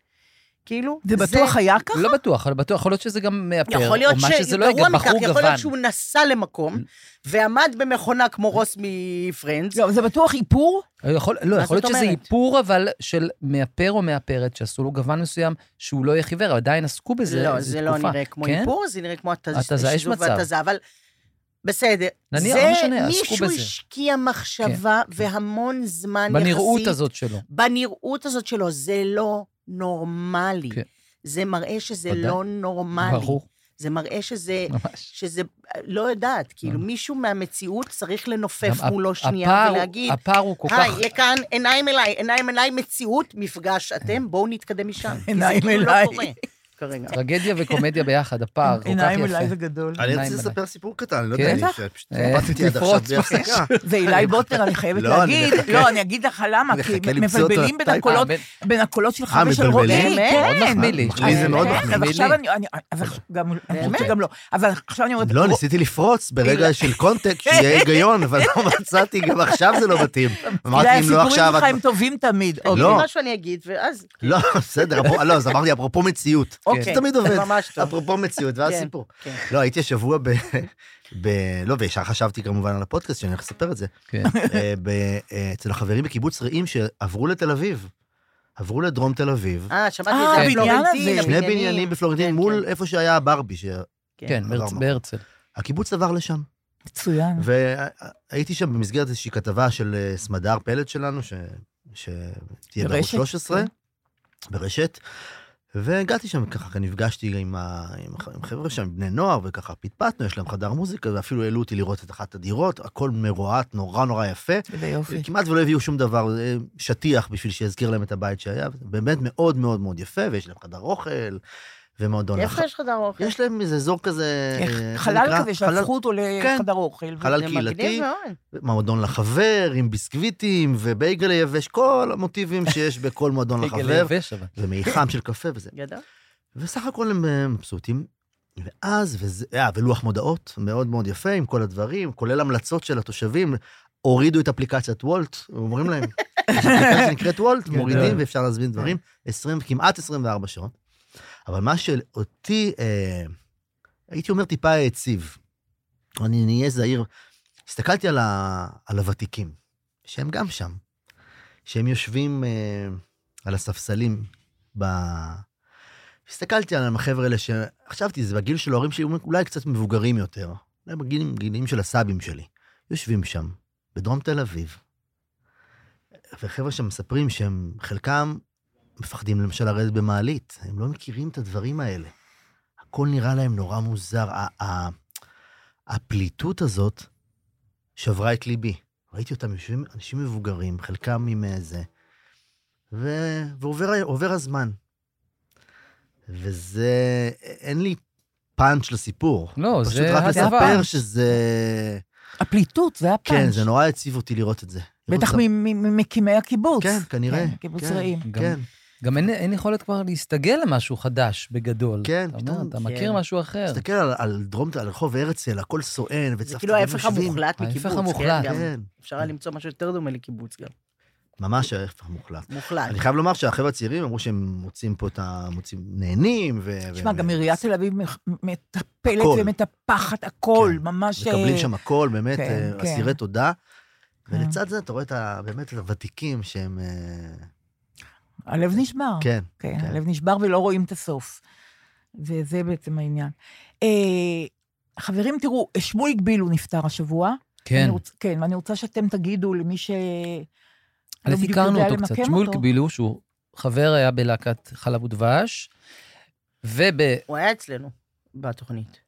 כאילו,
זה בטוח היה ככה?
לא בטוח, אבל בטוח, יכול להיות שזה גם מאפר,
יכול להיות
או מה שזה לא יהיה,
שגרוע מכך,
בחור
יכול
גוון.
להיות שהוא נסע למקום ועמד במכונה כמו רוס מפרנדס.
לא, זה בטוח איפור?
יכול, לא,
מה
יכול להיות
זאת
שזה
אומרת?
איפור, אבל של מאפר או מאפרת, שעשו לו גוון מסוים, שהוא לא יהיה חיוור, אבל עדיין עסקו בזה
לא,
איזו
זה לא
תקופה.
נראה כמו
כן?
איפור, זה נראה כמו התז-
התזה, יש
שיזוף
מצב.
והתזה, אבל בסדר.
נניח,
זה
לא משנה, עסקו
מישהו
בזה. כן.
השקיע מחשבה והמון זמן יחסית.
בנראות הזאת שלו.
בנראות הזאת שלו, זה לא נורמלי.
כן.
זה מראה שזה
ודאי.
לא נורמלי.
ברור,
זה מראה שזה,
ממש.
שזה, לא יודעת, כאילו מישהו מהמציאות צריך לנופף
גם
מולו
הפ-
לא שנייה
הפער הוא-
ולהגיד,
הפער הוא כל כך...
היי, לכאן, עיניים אליי, עיניים אליי, מציאות, מפגש אתם, בואו נתקדם משם. כי
עיניים
זה כאילו
אליי.
לא קורה כרגע.
טרגדיה וקומדיה ביחד, הפער, כל כך
עיניים אולי זה
יפה. אה,
גדול.
אני
עיניים
רציתי
עליי.
לספר סיפור קטן, אני לא
כן?
יודע, אני
בטח.
שפשוט
אה,
עמדתי עד עכשיו
תפרוץ
בלי
בבקשה.
הפסקה.
זה אילי בוטנר, אני חייבת
לא, אני
להגיד.
מחכה.
לא, אני אגיד לך למה,
אני
כי
מחכה למצוא אותו
מבלבלים בין
הטייפ.
הקולות,
אה, בין-
בין הקולות שלך
אה,
ושל רועי.
מבלבלים?
באמת?
כן.
מאוד מחמיא לי.
לי זה מאוד
כן,
מחמיא.
אז עכשיו
לי.
אני, אני- אז עכשיו גם, אני חושבת שגם לא, אבל עכשיו אני אומרת,
לא, ניסיתי לפרוץ ברגע של קונטקט, שיהיה היגיון, אבל לא מצאתי, גם עכשיו זה לא מתאים. אמרתי, אם לא עכשיו...
הסיפורים שלך
את-
הם טובים תמיד.
לא.
אוקיי, משהו אני אגיד, ואז,
לא, בסדר, אפרופו- לא, אז אמרתי, אפרופו מציאות.
אוקיי,
זה תמיד עובד.
ממש טוב.
אפרופו מציאות, ואז
כן,
סיפור.
כן.
לא, הייתי השבוע ב... ב... לא, וישר חשבתי כמובן על הפודקאסט, שאני הולך לספר את זה.
כן.
אה, ב... אה, אצל החברים בקיבוץ רעים שעברו לתל אביב. עברו לדרום תל אביב.
אה, שמעתי
אה,
את זה,
הבניין הזה.
הפלורנטין,
כן, שני
הבניינים.
בניינים בפלורנטין
כן,
מול
כן.
איפה שהיה הברבי,
כן,
עבר
בהרצ-
מקום.
בהרצל.
שהקיבוץ עבר לשם.
Mm.
מצוין.
אה, והייתי שם במסגרת איזושהי כתבה של אה, סמדר פלד שלנו, ש... שתהיה בערוץ
ברשת,
13,
כן.
ברשת, והגעתי שם ככה, כי נפגשתי עם, ה... עם הח- עם חבר'ה שם, בני נוער, וככה פטפטנו, יש להם חדר מוזיקה, ואפילו העלו אותי לראות את אחת הדירות, הכל מרועט, נורא נורא יפה.
איזה יופי.
כמעט ולא הביאו שום דבר, אה, שטיח בשביל שיזכיר להם את הבית שהיה, באמת מאוד מאוד מאוד יפה, ויש להם חדר אוכל, ומועדון
איפה
לחג.
יש חדר אוכל?
יש להם איזה אזור כזה,
איך-
אה, איך זה
חלל
נקרא?
כזה
חלל- כן.
שהפכו אותו לחדר אוכל.
חלל
זה
קהילתי,
מגניב מאוד.
מועדון לחבר, עם ביסקוויטים ובייגל יבש, כל המוטיבים שיש בכל מועדון לחבר,
יבש, אבל.
ומיחם של קפה וזה.
גדול.
וסך הכל הם אה, מבסוטים. ואז, וזה, אה, ולוח מודעות מאוד מאוד יפה עם כל הדברים, כולל המלצות של התושבים, הורידו את אפליקציית וולט, אומרים להם, יש אפליקציה שנקראת וולט, מורידים ואפשר להזמין דברים, 20, כמעט 24 שעות. אבל מה שאותי, אה, הייתי אומר, טיפה העציב, אני נהיה זהיר, הסתכלתי על, ה, על הוותיקים, שהם גם שם, שהם יושבים אה, על הספסלים ב... הסתכלתי על החבר'ה האלה שחשבתי, זה בגיל של ההורים שלי, אולי קצת מבוגרים יותר. אולי בגילים גילים של הסבים שלי. יושבים שם, בדרום תל אביב, וחבר'ה שמספרים שהם, חלקם מפחדים למשל לרדת במעלית, הם לא מכירים את הדברים האלה. הכל נראה להם נורא מוזר. ה- ה- הפליטות הזאת שברה את ליבי. ראיתי אותם יושבים, אנשים מבוגרים, חלקם עם אה, זה, ו... ועובר ה- עובר הזמן. וזה, אין לי פאנץ' לסיפור.
לא,
פשוט
זה
רק
הדבר.
לספר שזה...
הפליטות, זה הפאנץ'.
כן, זה נורא הציב אותי לראות את זה. לראות
בטח
את ה-
מ- מ- ממקימי הקיבוץ.
כן, כנראה.
כן, קיבוץ
כן,
רעים.
גם-
כן,
גם אין- אין יכולת כבר להסתגל למשהו חדש בגדול.
כן,
אתה
פתאום-
אומר, אתה
כן.
מכיר משהו אחר.
תסתכל על- על דרום, על רחוב הרצל, הכל סואן וצפצפים.
זה כאילו ההפך
יושבים.
המוחלט
ההפך
מקיבוץ.
המוחלט.
כן, גם.
כן,
אפשר היה למצוא משהו יותר דומה לקיבוץ גם.
ממש ההפך המוחלט.
מוחלט.
אני חייב לומר שהחבר'ה הצעירים אמרו שהם מוצאים פה את ה... מוצאים, נהנים ו...
תשמע,
ו-
גם
ו-
עיריית תל אביב מח- מטפלת
הכל.
ומטפחת הכל,
כן,
ממש...
מקבלים
אה,
שם הכל, באמת,
כן,
אה,
כן.
אסירי תודה.
כן.
ולצד זה אתה רואה את ה... באמת את הוותיקים שהם... אה,
הלב נשבר.
כן,
כן,
כן.
הלב נשבר ולא רואים את הסוף. וזה בעצם העניין. אה, חברים, תראו, שמוליק בילו נפטר השבוע.
כן.
אני רוצ... כן, ואני רוצה שאתם תגידו למי ש... לא
אז
בדיוק
הכרנו
יודע
אותו
למקם
קצת. שמואל
אותו.
קבילו, שהוא חבר היה בלהקת חלב ודבש, וזה
הוא היה אצלנו בתוכנית.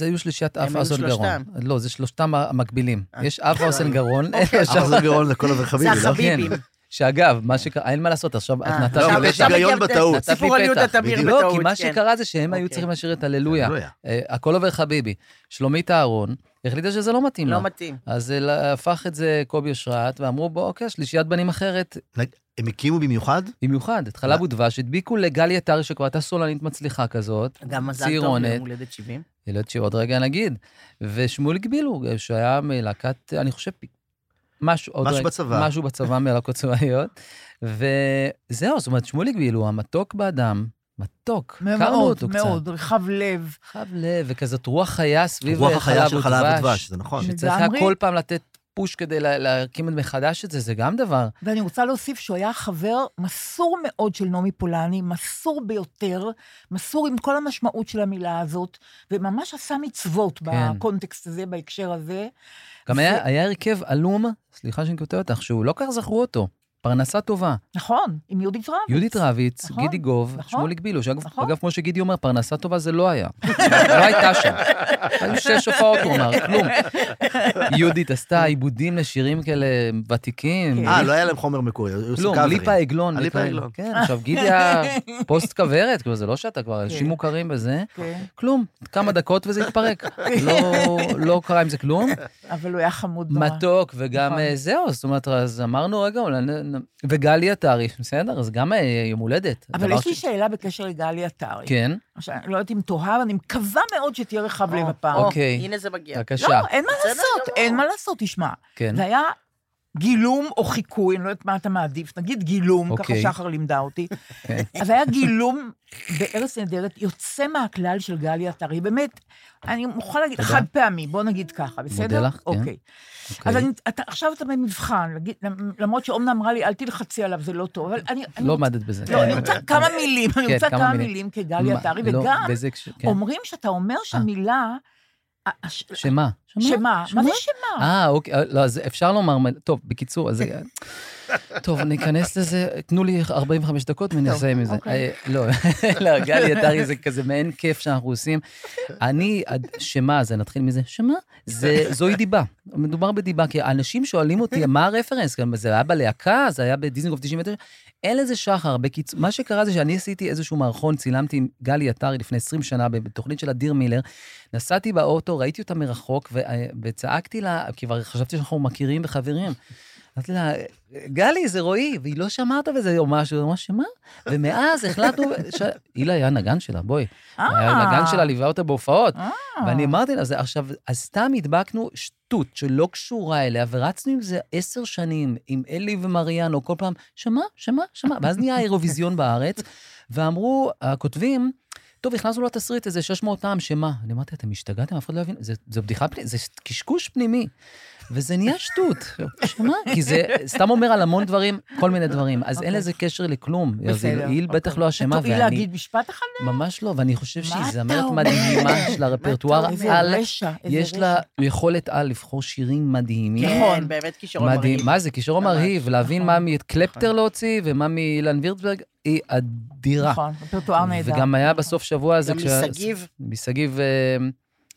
היו שלישיית
הם
אף
היו
אוזן גרון.
שלושתם.
לא, זה שלושתם המקבילים.
אה. אוקיי.
יש אף אוזן גרון, אלה
אבל
עכשיו-
זה גאון לכל עבר
זה
חביבי, לא?
החביבים.
שאגב, מה שקרה, אין מה לעשות, עכשיו את
אה,
נתת
לא,
עכשיו-
אבל יש
פתח.
עכשיו
היגיון
גם-
בטעות.
נתת לי סיפור על
פתח.
יהודה תמיר
בדיוק.
בטעות,
לא, כי מה
כן.
שקרה זה שהם היו
אוקיי.
צריכים לשיר את הללויה.
לא היה.
אה, הכל עובר חביבי. שלומית אהרון החליטה שזה לא מתאים לה.
לא מתאים.
אז אה, הפך את זה קובי אושרת, ואמרו, בוא, אוקיי, שלישיית בנים אחרת,
הם הקימו במיוחד?
במיוחד, את חלב ודבש, הדביקו לגלי עטרי, שכבר הייתה סולנית מצליחה כזאת,
גם מזל טוב
צעירונת.
ליום הולדת 70.
ילד שעוד רגע נגיד, ושמואל גבילו, שהיה מלהקת, אני חושב, משהו, עוד
משהו
רגע,
בצבא.
משהו בצבא מהלהקות צבאיות. וזהו, זאת אומרת, שמוליק ואילו, המתוק באדם, מתוק, הכרנו
מאוד,
אותו קצת.
מאוד, רחב לב.
חב לב, וכזאת רוח חיה סביב
רוח החיה של
ודבש,
חלב ודבש, זה נכון.
שצריך היה
לגמרי.
כל פעם לתת פוש כדי לה- להקים מחדש את זה, זה גם דבר.
ואני רוצה להוסיף שהוא היה חבר מסור מאוד של נעמי פולני, מסור ביותר, מסור עם כל המשמעות של המילה הזאת, וממש עשה מצוות
כן.
בקונטקסט הזה, בהקשר הזה.
גם
זה-
היה היה הרכב עלום, סליחה שאני קוטע אותך, שהוא לא כך זכרו אותו. פרנסה טובה.
נכון, עם יהודית רב.
יהודית רביץ,
נכון,
גידי גוב,
נכון,
שמוליק בילו, שאגב,
נכון.
אגב, כמו שגידי אומר, פרנסה טובה זה לא היה. לא הייתה שם. היו שש הופעות, הוא אמר, כלום. יהודית עשתה עיבודים לשירים כאלה ותיקים.
כן.
אה, לא היה להם חומר מקורי, היו עושים
כלום,
קאברים.
ליפה עגלון.
ליפה
וכאלה.
עגלון.
כן, עכשיו גידי היה פוסט כוורת, כלומר, זה לא שאתה כבר, אנשים
כן.
מוכרים בזה.
כן,
כלום, כמה דקות וזה התפרק. לא, לא קרה עם זה כלום.
אבל הוא היה חמוד נורא.
מתוק, וגם
נכון.
אה, זהו, זאת אומרת, אז אמרנו, רגע, אולי... נ- נ- וגלי עטרי, בסדר, אז גם אה, יום הולדת.
אבל
דבר
יש לי
ש-
שאלה בקשר לגלי עטרי.
כן,
עכשיו, אני לא יודעת אם תוהה, אבל אני מקווה מאוד שתהיה רחב לב הפעם.
אוקיי.
הנה זה מגיע.
בבקשה.
לא, אין מה
בסדר
לעשות,
גמור.
אין מה לעשות, תשמע.
כן.
זה היה גילום או חיקוי, אני לא יודעת מה אתה מעדיף, נגיד גילום, ככה
אוקיי.
שחר לימדה אותי.
כן.
אז היה גילום בארץ נהדרת, יוצא מהכלל של גלי עטרי, באמת, אני מוכרחה להגיד,
תודה.
חד פעמי, בוא נגיד ככה, בסדר?
לך, כן.
אוקיי.
אוקיי.
אז אני, אתה, עכשיו אתה במבחן, להגיד- למרות שאומנה אמרה לי, אל תלחצי עליו, זה לא טוב, אבל אני... אני
לא
רוצה-
עמדת בזה.
לא, אני רוצה כמה מילים, אני
כן,
רוצה
כמה
כמה
מילים.
מילים כגלי
מה,
עטרי,
לא,
וגם
באיזה הקשר- כן.
אומרים שאתה אומר שהמילה... הש-
שמה?
שמה? מה זה שמה?
אה, אוקיי, אה, לא, אז אפשר לומר, מל- טוב, בקיצור, אז... טוב, ניכנס לזה, תנו לי 45 דקות ונסיים עם זה.
אוקיי.
אה, לא, לא, גלי עטרי זה כזה מעין כיף שאנחנו עושים. אני, עד- שמה, זה נתחיל מזה, שמה? זה- זוהי דיבה. מדובר בדיבה, כי אנשים שואלים אותי, מה הרפרנס? גם זה היה בלהקה, זה היה בדיזנגוף 99, אין לזה שחר. בקיצור, מה שקרה זה שאני עשיתי איזשהו מערכון, צילמתי עם גלי עטרי לפני 20 שנה בתוכנית של אדיר מילר, נסעתי באוטו, ראיתי אותה מרחוק, ו- אה, וצעקתי לה, כי כבר חשבתי שאנחנו מכירים וחברים. אמרתי לה, גלי, זה רועי, והיא לא שמעה אותה וזה או משהו, היא אמרה, שמה? ומאז החלטנו, ש... הילה היה נגן שלה, בואי. היה נגן שלה, ליווה אותה בהופעות. ואני אמרתי לה, זה עכשיו, אז סתם הדבקנו שטות שלא קשורה אליה, ורצנו עם זה עשר שנים, עם אלי ומריאנו, כל פעם, שמע, שמע, שמע, ואז נהיה האירוויזיון בארץ, ואמרו הכותבים, טוב, הכנסנו לתסריט איזה 600 טעם, שמה? אני אמרתי, אתם השתגעתם, אף אחד לא יבין, זה- זו בדיחה פנימית, זה קשקוש פנימי. וזה נהיה שטות, שמה? כי זה סתם אומר על המון דברים, כל מיני דברים. אז אין
אוקיי.
לזה קשר לכלום. אז
בסדר,
היא בטח
אוקיי.
לא אשמה,
תואיל
ואני...
להגיד משפט אחד?
ממש לא, ואני חושב
מה
שהיא
אתה
זמרת
אומר?
מדהימה של הרפרטואר
איזה
אה, על.
רשע, איזה
יש
רשע.
לה יכולת על לבחור שירים מדהימים.
נכון.
כן, באמת כישרון
מדהים.
מרהיב.
מה זה, כישרון
ממש,
מרהיב, להבין
נכון.
מה מקלפטר להוציא ומה מאילן וירצברג, היא אדירה.
נכון, רפרטואר נהדר.
וגם היה בסוף שבוע הזה,
גם
כשה-
משגיב.
משגיב אה,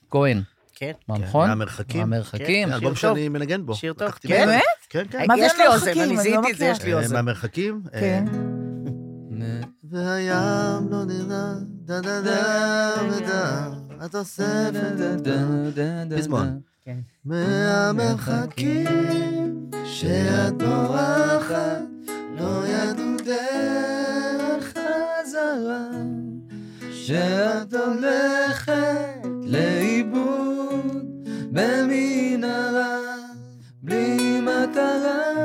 כהן,
כן.
נכון?
מהמרחקים.
מהמרחקים.
שיר
זה אלבום
טוב.
שאני מנגן בו.
שיר טוב,
לקחתי
כן?
ממנו.
באמת?
כן, כן.
מה זה
יש לי אוזן,
המרחקים? אני
אני
לא
זיהיתי את זה, יש לי
אה,
אוזן.
מהמרחקים. אה,
כן.
והים לא נראה, דה דה דה ודה, התוספת פזמון.
כן.
מהמרחקים שאת בורחת, לא ידעו דרך חזרה, שאת הולכת לאיבוד במנהרה, בלי מטרה,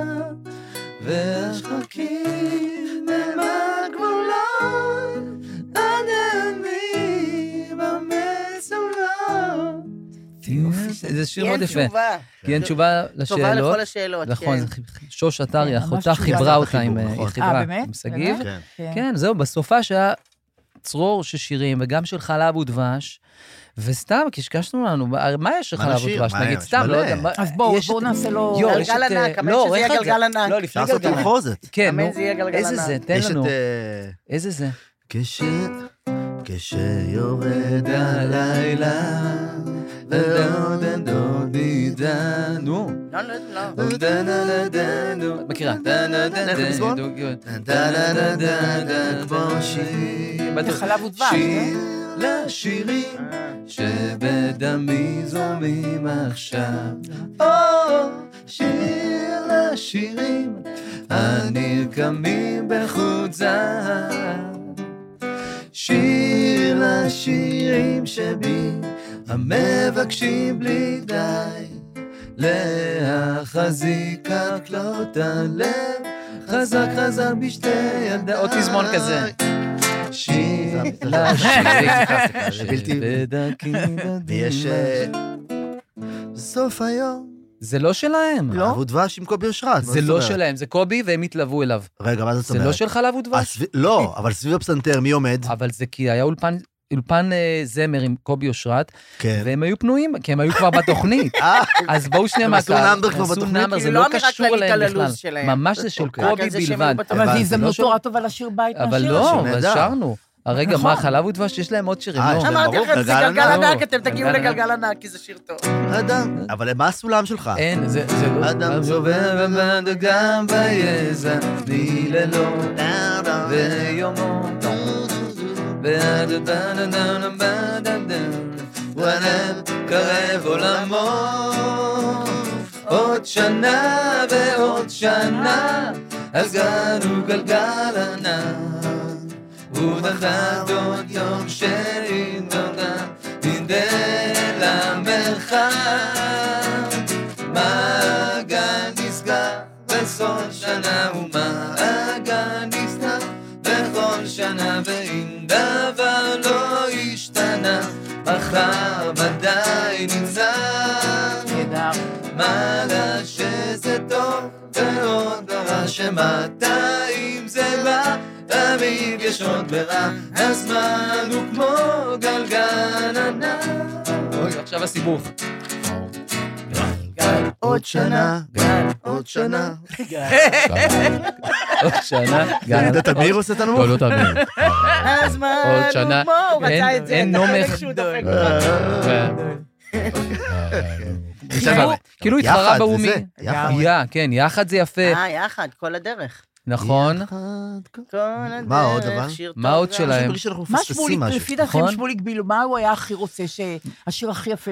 והשחקים הם הגבולות, עד הימים המסולות.
זה שיר
כי
מאוד
אין
יפה.
תשובה.
כן.
כי אין תשובה לשאלות.
תשובה לכל השאלות,
נכון,
כן.
זה ח- שוש עטרי,
כן, ממש
אחותה
תשובה.
חיברה אותה
חיבור,
עם אה,
נכון.
היא
אה,
חיברה
באמת?
עם שגיב.
באמת?
כן.
כן, זהו, בסופה שהיה צרור של שירים, וגם של חלב ודבש, וסתם קשקשנו לנו, מה- מה יש
מה
לחלב
נשאיר?
ודבש?
מה
נגיד,
יש?
סתם,
מלא.
לא יודע. מה-
אז בואו,
יש
בואו
את-
נעשה לו...
יו, יש
גלגל
את, אה,
ענק, אבל
לא,
שזה יהיה
איך את זה?
גלגל ענק.
לא, לפני
אפשר לעשות
גלגל ענק.
תמחוזת.
כן,
אמן,
נו,
זה יהיה גלגל
איזה
ענק.
זה? תן
יש
לנו.
את... אה,
איזה זה?
כש... כשיורד הלילה, ודודן דודי דנו.
לא, לא, לא.
מכירה.
איך הפזמון? דדדדדדד, כמו שיר.
בטוח.
חלב ודבש, כן?
שיר לשירים שבדמי זורמים עכשיו. או, שיר לשירים הנרקמים בחוט זהב. שיר לשירים שבי המבקשים בלי די
להחזיק את כלות הלב, חזק חזק בשתי ידי... או תזמון כזה. שיר
זה- זה-
לשיר,
זה בלתי-
שבדקים
ויש... אה, בסוף היום.
זה לא שלהם.
לא?
אהבו דבש עם קובי אושרת. מה
זה
זאת
לא
אומרת?
שלהם, זה קובי והם התלוו אליו.
רגע, מה זאת
זה
אומרת?
לא של אה, חלב ודבש.
הסב- לא, אבל סביב הפסנתר מי עומד?
אבל זה כי היה אולפן... אולפן אה, זמר עם קובי אושרת,
כן.
והם היו פנויים, כי הם היו כבר בתוכנית.
אה,
אז בואו שנייה
הם
מהקהל.
עשו נאמבר כבר בתוכנית?
נאמבר, זה
כאילו,
לא
לא אמירה
קשור
כללית
אליהם
על הלו"ז
בכלל.
שלהם.
ממש זה של
אוקיי.
קובי
רק על זה שהם
בלבד.
היו בתוכנית.
אבל
הבנתי,
זו
לא
הזדמנות
של-
נורא טובה לשיר בית מהשיר
אבל
הזה.
לא, אבל
אה, נהדר.
שרנו. רגע,
נכון.
מה, חלב ודבש יש להם עוד שירים.
אה,
לא?
יש להם
אמרתי
ברור,
לכם, זה
גלגל
גלגל
ענק.
ענק, אתם תגיעו
גלגל
לגלגל ענק, כי זה שיר טוב.
אדם. אבל מה הסולם שלך?
אין, זה... זה לא-
אדם
זובב במדגם ביזע, בלי ללא, ויומו. וואלה, קרב עולמו. עוד שנה ועוד שנה, אז גל הוא גלגל ענק. ובנחת עוד יום שלי נודע, נדל למרחב. מעגל נסגר בסוף שנה, ומעגל נסגר בכל שנה, ואם דבר לא השתנה, מחר ודאי ניצב.
נהדר.
מעלה שזה טוב ועוד רע שמאתיים זה בא תמיד יש עוד ורע הזמן הוא כמו גלגל ענק אוי עכשיו הסיבוב
עוד שנה, עוד שנה.
עוד שנה
אני יודע, תמיר עושה את הנמוך?
לא תמיד
הזמן
עוד שנה.
הוא כמו, הוא
אין-
רצה את זה,
אין
את החלק
נומך.
שהוא דופק.
אוקיי. אה, כאילו- כאילו
יחד,
התחרה
זה
באומי.
זה, יחד.
יא, כן, יחד זה יפה,
אה, יחד, כל הדרך.
נכון.
כל הדרך,
מה עוד, אבל?
שיר
מה
טוב
עוד
גם.
אני
שלהם?
מרגיש שאנחנו
מה
מפספסים
שמוליק,
משהו.
לפי דעתכם
נכון?
שמוליק בילו, מה הוא היה הכי רוצה, שהשיר הכי יפה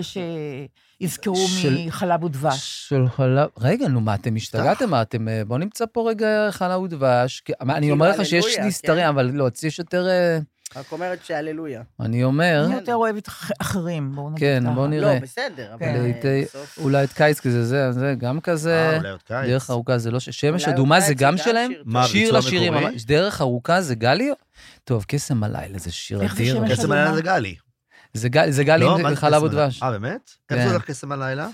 שיזכרו
של-
מחלב ודבש?
של חלב... רגע, נו, מה, אתם השתגעתם? מה, אתם... אה, בואו נמצא פה רגע חלב ודבש. כי- מה, אני
כאילו,
אומר לך שיש
הללויה,
נסתרים,
כן.
אבל לא, יש יותר... אה,
רק אומרת שהללויה.
אני אומר,
אני יותר אוהבת אח- אחרים, בואו נגיד
כן,
ככה.
בואו
לא,
נראה.
בסדר, אבל
כן.
אה,
לעתי-
בסוף...
אולי את קיץ, כי זה זה, זה גם
אה,
כזה.
אולי עוד קיץ.
דרך ארוכה זה לא... ש- שמש
אולי
אדומה
אולי
זה גם שלהם?
שיר טוב.
מה,
שיר
ביצוע
לשירים,
מקורי?
ממש. דרך ארוכה זה גלי? טוב, קסם הלילה זה שיר
איך זה
אדיר.
שמש?
קסם הלילה זה גלי.
זה גל- זה גלי
לא,
עם
מה זה
חלב
קסם הלילה?
ודבש.
אה, באמת?
כן.
איך זה הולך קסם הלילה?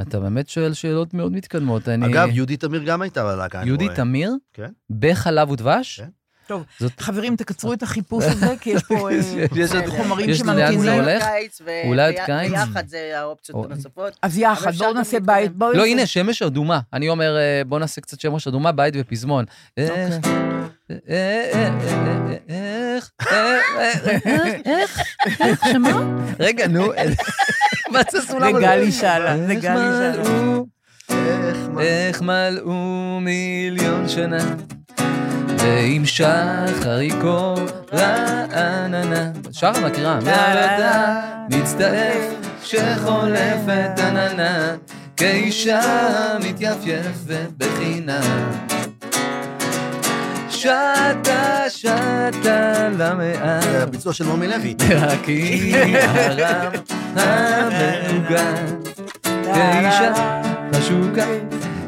אתה באמת שואל שאלות מאוד מתקדמות. אני...
אגב, יהודי תמיר גם הייתה בלהקה, אני רואה.
יהודי תמיר?
כן.
בחלב ודבש?
כן.
טוב,
זאת...
חברים, תקצרו את החיפוש הזה, כי יש פה אה,
יש עוד-
כן.
חומרים
יש לאן זה
שממתינים.
הולך?
קיץ, ו-
אולי עוד
ויה-
קיץ?
ויחד זה האופציות
אוי.
הנוספות.
אז יחד,
אבל אפשר
בואו
גם
נעשה
להתקדם.
בית. בואו
לא,
נעשה-
הנה, שמש אדומה. אני אומר, אה, בוא נעשה קצת שמש אדומה, בית ופזמון. איך,
אוקיי.
איך, איך, איך, איך, שמה? רגע, נו, אה, מה זה סולם?
זה
הזה?
גלי שאלה, זה
איך
גלי שאלה.
מלאו,
איך, מה?
איך מלאו מיליון שנה, ועם שחר ייקור רעננה. שחר מכירה. מצטער שחולפת עננה, כאישה מתייפייפת בחינם. שטה שטה
זה
למאה,
הביצוע של מומי לוי.
בהקים הרם המעוגן. אה, כאישה חשוקה,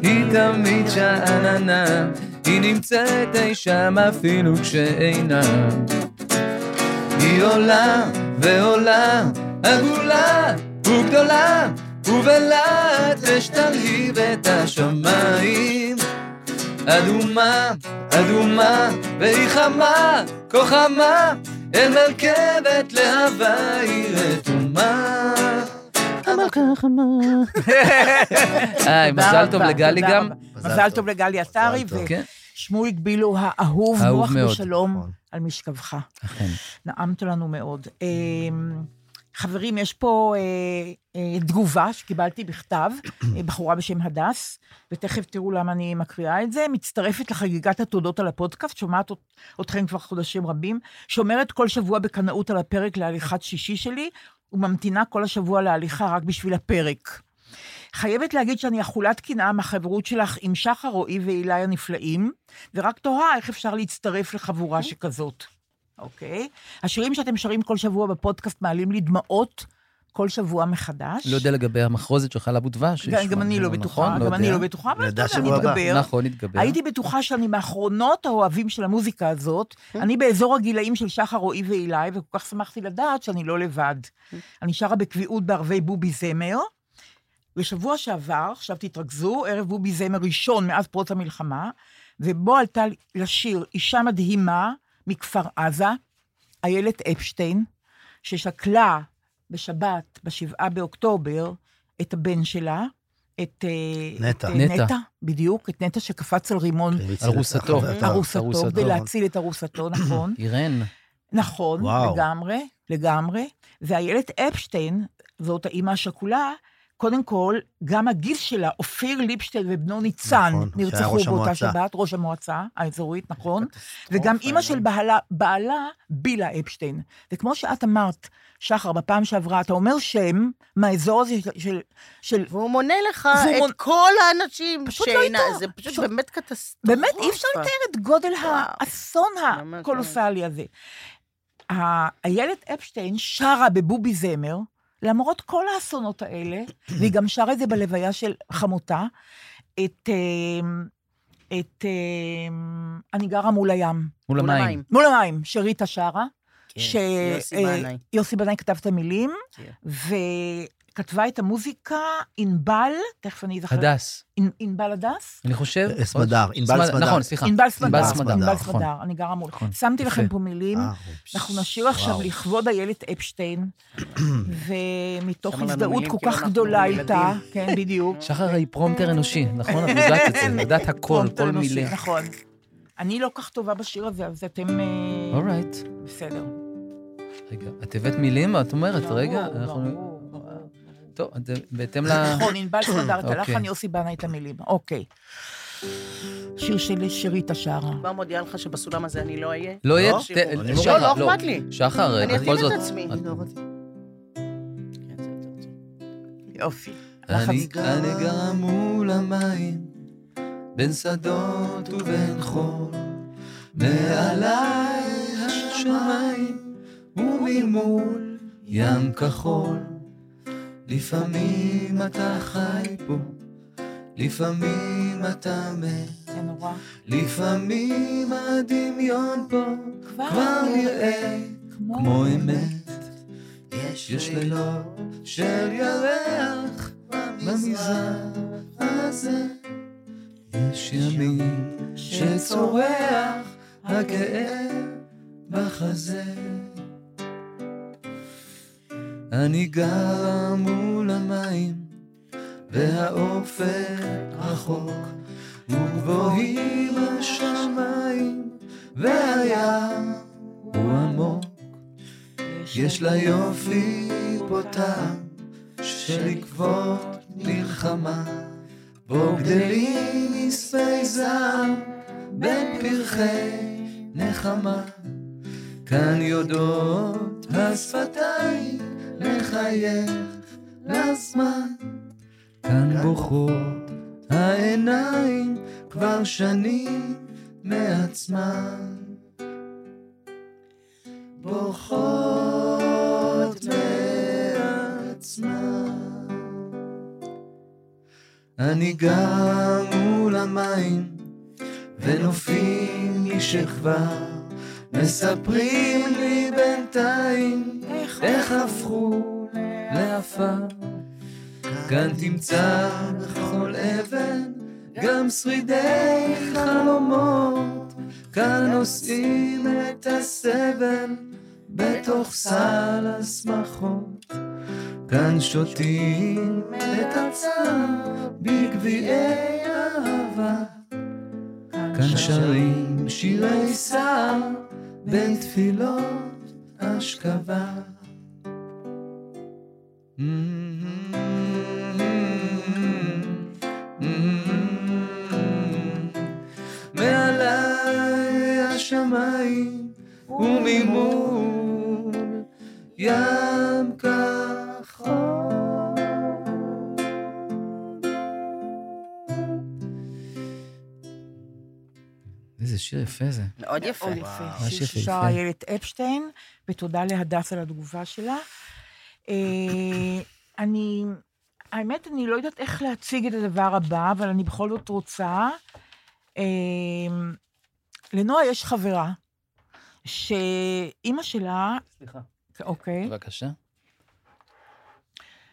היא תמיד שאננה, היא נמצאת אי שם אפילו כשאינה. היא עולה ועולה, עגולה וגדולה, ובלהט תשתלהיב את השמיים. אדומה, אדומה, והיא חמה, כה חמה, אל מרכבת להבה היא רתומה. המלכה חמה. היי,
תודה
מזל
רבה,
טוב לגלי
תודה
גם.
רבה. מזל טוב לגלי עטרי,
מזל טוב.
כן,
ושמוליק בילו האהוב,
אהוב
נוח
מאוד.
בשלום
נכון.
על משכבך.
אכן.
נעמת לנו מאוד. אמ, חברים, יש פה אה, אה, תגובה שקיבלתי בכתב, אה, בחורה בשם הדס, ותכף תראו למה אני מקריאה את זה. מצטרפת לחגיגת התודות על הפודקאסט, שומעת אות- אתכם כבר חודשים רבים, שומרת כל שבוע בקנאות על הפרק להליכת שישי שלי, וממתינה כל השבוע להליכה רק בשביל הפרק. חייבת להגיד שאני אכולת קנאה מהחברות שלך עם שחר, רועי ואילי הנפלאים, ורק תוהה איך אפשר להצטרף לחבורה שכזאת. אוקיי? השירים שאתם שרים כל שבוע בפודקאסט מעלים לי דמעות כל שבוע מחדש.
לא יודע לגבי המחרוזת שלך על אבו דבש.
גם- גם
שמענו,
אני לא
נכון?
בטוחה, גם אני
יודע.
לא בטוחה, אבל
נדע
אתה יודע,
שבוע הבא.
נתגבר.
נכון, נתגבר.
הייתי בטוחה שאני מאחרונות האוהבים של המוזיקה הזאת. אני באזור הגילאים של שחר רועי ואילי, וכל כך שמחתי לדעת שאני לא לבד. אני שרה בקביעות בערבי בובי זמר. בשבוע שעבר, עכשיו תתרכזו, ערב בובי זמר ראשון מאז פרוץ המלחמה, ובו עלתה לשיר אישה מדהימה מכפר עזה, איילת אפשטיין, ששכלה בשבת, בשבעה באוקטובר, את הבן שלה, את... אה,
נטע.
את, אה,
נטע.
נטע, בדיוק, את נטע שקפץ על רימון
והציל
על
את
רוסתו.
החברתה.
ארוסתו,
ארוסתו.
כדי להציל את ארוסתו, נכון.
אירן,
נכון,
וואו.
לגמרי, לגמרי. ואיילת אפשטיין, זאת האימא השכולה, קודם כל, גם הגיס שלה, אופיר ליפשטיין ובנו ניצן,
נכון, שהיה
נרצחו
ראש
באותה
המועצה.
שבת, ראש המועצה האזורית, נכון? וגם אימא של בעלה, בעלה, בילה אפשטיין. וכמו שאת אמרת, שחר, בפעם שעברה, אתה אומר שם מהאזור הזה של- של... של
והוא מונה לך
והוא מונ-
את כל האנשים
פשוט לא
שאינה,
הייתה.
זה פשוט
פשוט-
באמת קטסטרופה.
באמת, אי אפשר
נכון.
לתאר את גודל האסון
ממש,
הקולוסלי הזה. ה- איילת אפשטיין שרה בבובי זמר, למרות כל האסונות האלה, והיא גם שרה את זה בלוויה של חמותה, את... אה, את... אה, אני גרה מול הים.
מול
מול
המים.
המים.
מול המים, שריטה שרה.
כן,
ש-
יוסי
אה,
בנאי.
יוסי בנאי כתב את המילים,
כן.
וכתבה את המוזיקה ענבל, תכף אני אזכר.
הדס,
ענ- ענבל הדס?
אני חושב...
אה, סמדר, ענבל
סמד-
סמדר.
נכון, סליחה.
ענבל סמדר.
ענבל סמדר,
ענבל
נכון.
סמדר, אני גרה מול.
נכון.
שמתי לכם
יפה.
פה מילים.
אה,
אנחנו נשיר עכשיו
וואו.
לכבוד איילת אפשטיין, ומתוך
שמה לנו
הזדהות
מילים
כל
כאילו
כך
אנחנו
גדולה
ילדים.
איתה, כן, בדיוק.
שחר היא פרומטר אנושי, נכון? את יודעת את זה, את יודעת הכל,
פרומפטר
כל
אנושי,
מילה.
נכון. אני לא כל כך טובה בשיר הזה, אז אתם... אה,
אורייט.
בסדר.
רגע, את הבאת מילים? את אומרת,
לא,
רגע,
ברור,
אנחנו...
ברור.
טוב, את- בהתאם ל...
נכון, ענבל סמדר, את
אוקיי.
הלחן יוסי בנה את המילים. אוקיי. שיר של שירית שרה.
כבר מודיעה לך שבסולם הזה אני לא אהיה.
לא יהיה...
לא?
ת-
אני לא-
שחר,
לא, לא אכפת לי.
שחר,
אני
בכל
אתאים
זאת...
את עצמי.
את-
כן, זה יותר טוב.
יופי.
אני אני גר מול המים, בין שדות ובין חול, מעליי השמיים וממול ים כחול. לפעמים אתה חי פה, לפעמים אתה מת,
זה נורא.
לפעמים הדמיון פה כבר נראה כמו אמת. יש לילות של ירח במזרח הזה, יש ימים שצורח הכאב בחזה. אני גרה מול המים, והאופק רחוק, וגבוהים השמיים, והים הוא עמוק. יש לה יופי פה טעם שלקוות מלחמה בו גדלים מספי זעם בין פרחי נחמה כאן יודעות השפתיים לחייך לזמן כאן בוכות העיניים כבר שנים מעצמן בוכות מעצמן. אני גר מול המים, ונופים משכבה, מספרים לי בינתיים איך הפכו לעפר. כאן תמצא בכל אבן גם שרידי חלומות, כאן נושאים את הסבל בתוך סל השמחות. כאן שותים את הצער בגביעי אהבה. כאן שרים שירי סער בין תפילות אשכבה. מעליי השמיים וממול ים כחול. איזה שיר יפה זה.
מאוד יפה.
אוקיי, מאוד יפה.
ממש
שיר
יפה,
ששרה
יפה.
איילת אפשטיין, ותודה להדס על התגובה שלה. אה, אני, האמת, אני לא יודעת איך להציג את הדבר הבא, אבל אני בכל זאת רוצה. אה, לנועה יש חברה, שאימא שלה,
סליחה.
אוקיי,
בבקשה.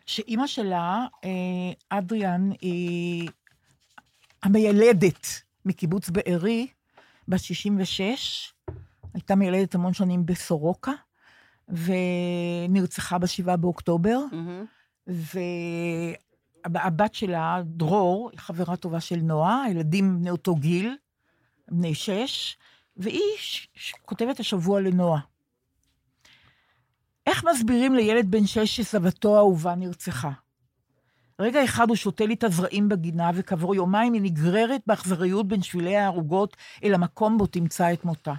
שאימא שלה, אה, אדריאן, היא המיילדת מקיבוץ בארי, בת 66, הייתה מיילדת המון שנים בסורוקה, ונרצחה ב-7 באוקטובר,
מהמם.
והבת שלה, דרור, היא חברה טובה של נועה, ילדים בני אותו גיל, בני שש, והיא ש- ש- כותבת השבוע לנועה. איך מסבירים לילד בן שש שסבתו האהובה נרצחה? רגע אחד הוא שותה לי את הזרעים בגינה, וכעבור יומיים היא נגררת באכזריות בין שבילי הערוגות אל המקום בו תמצא את מותה.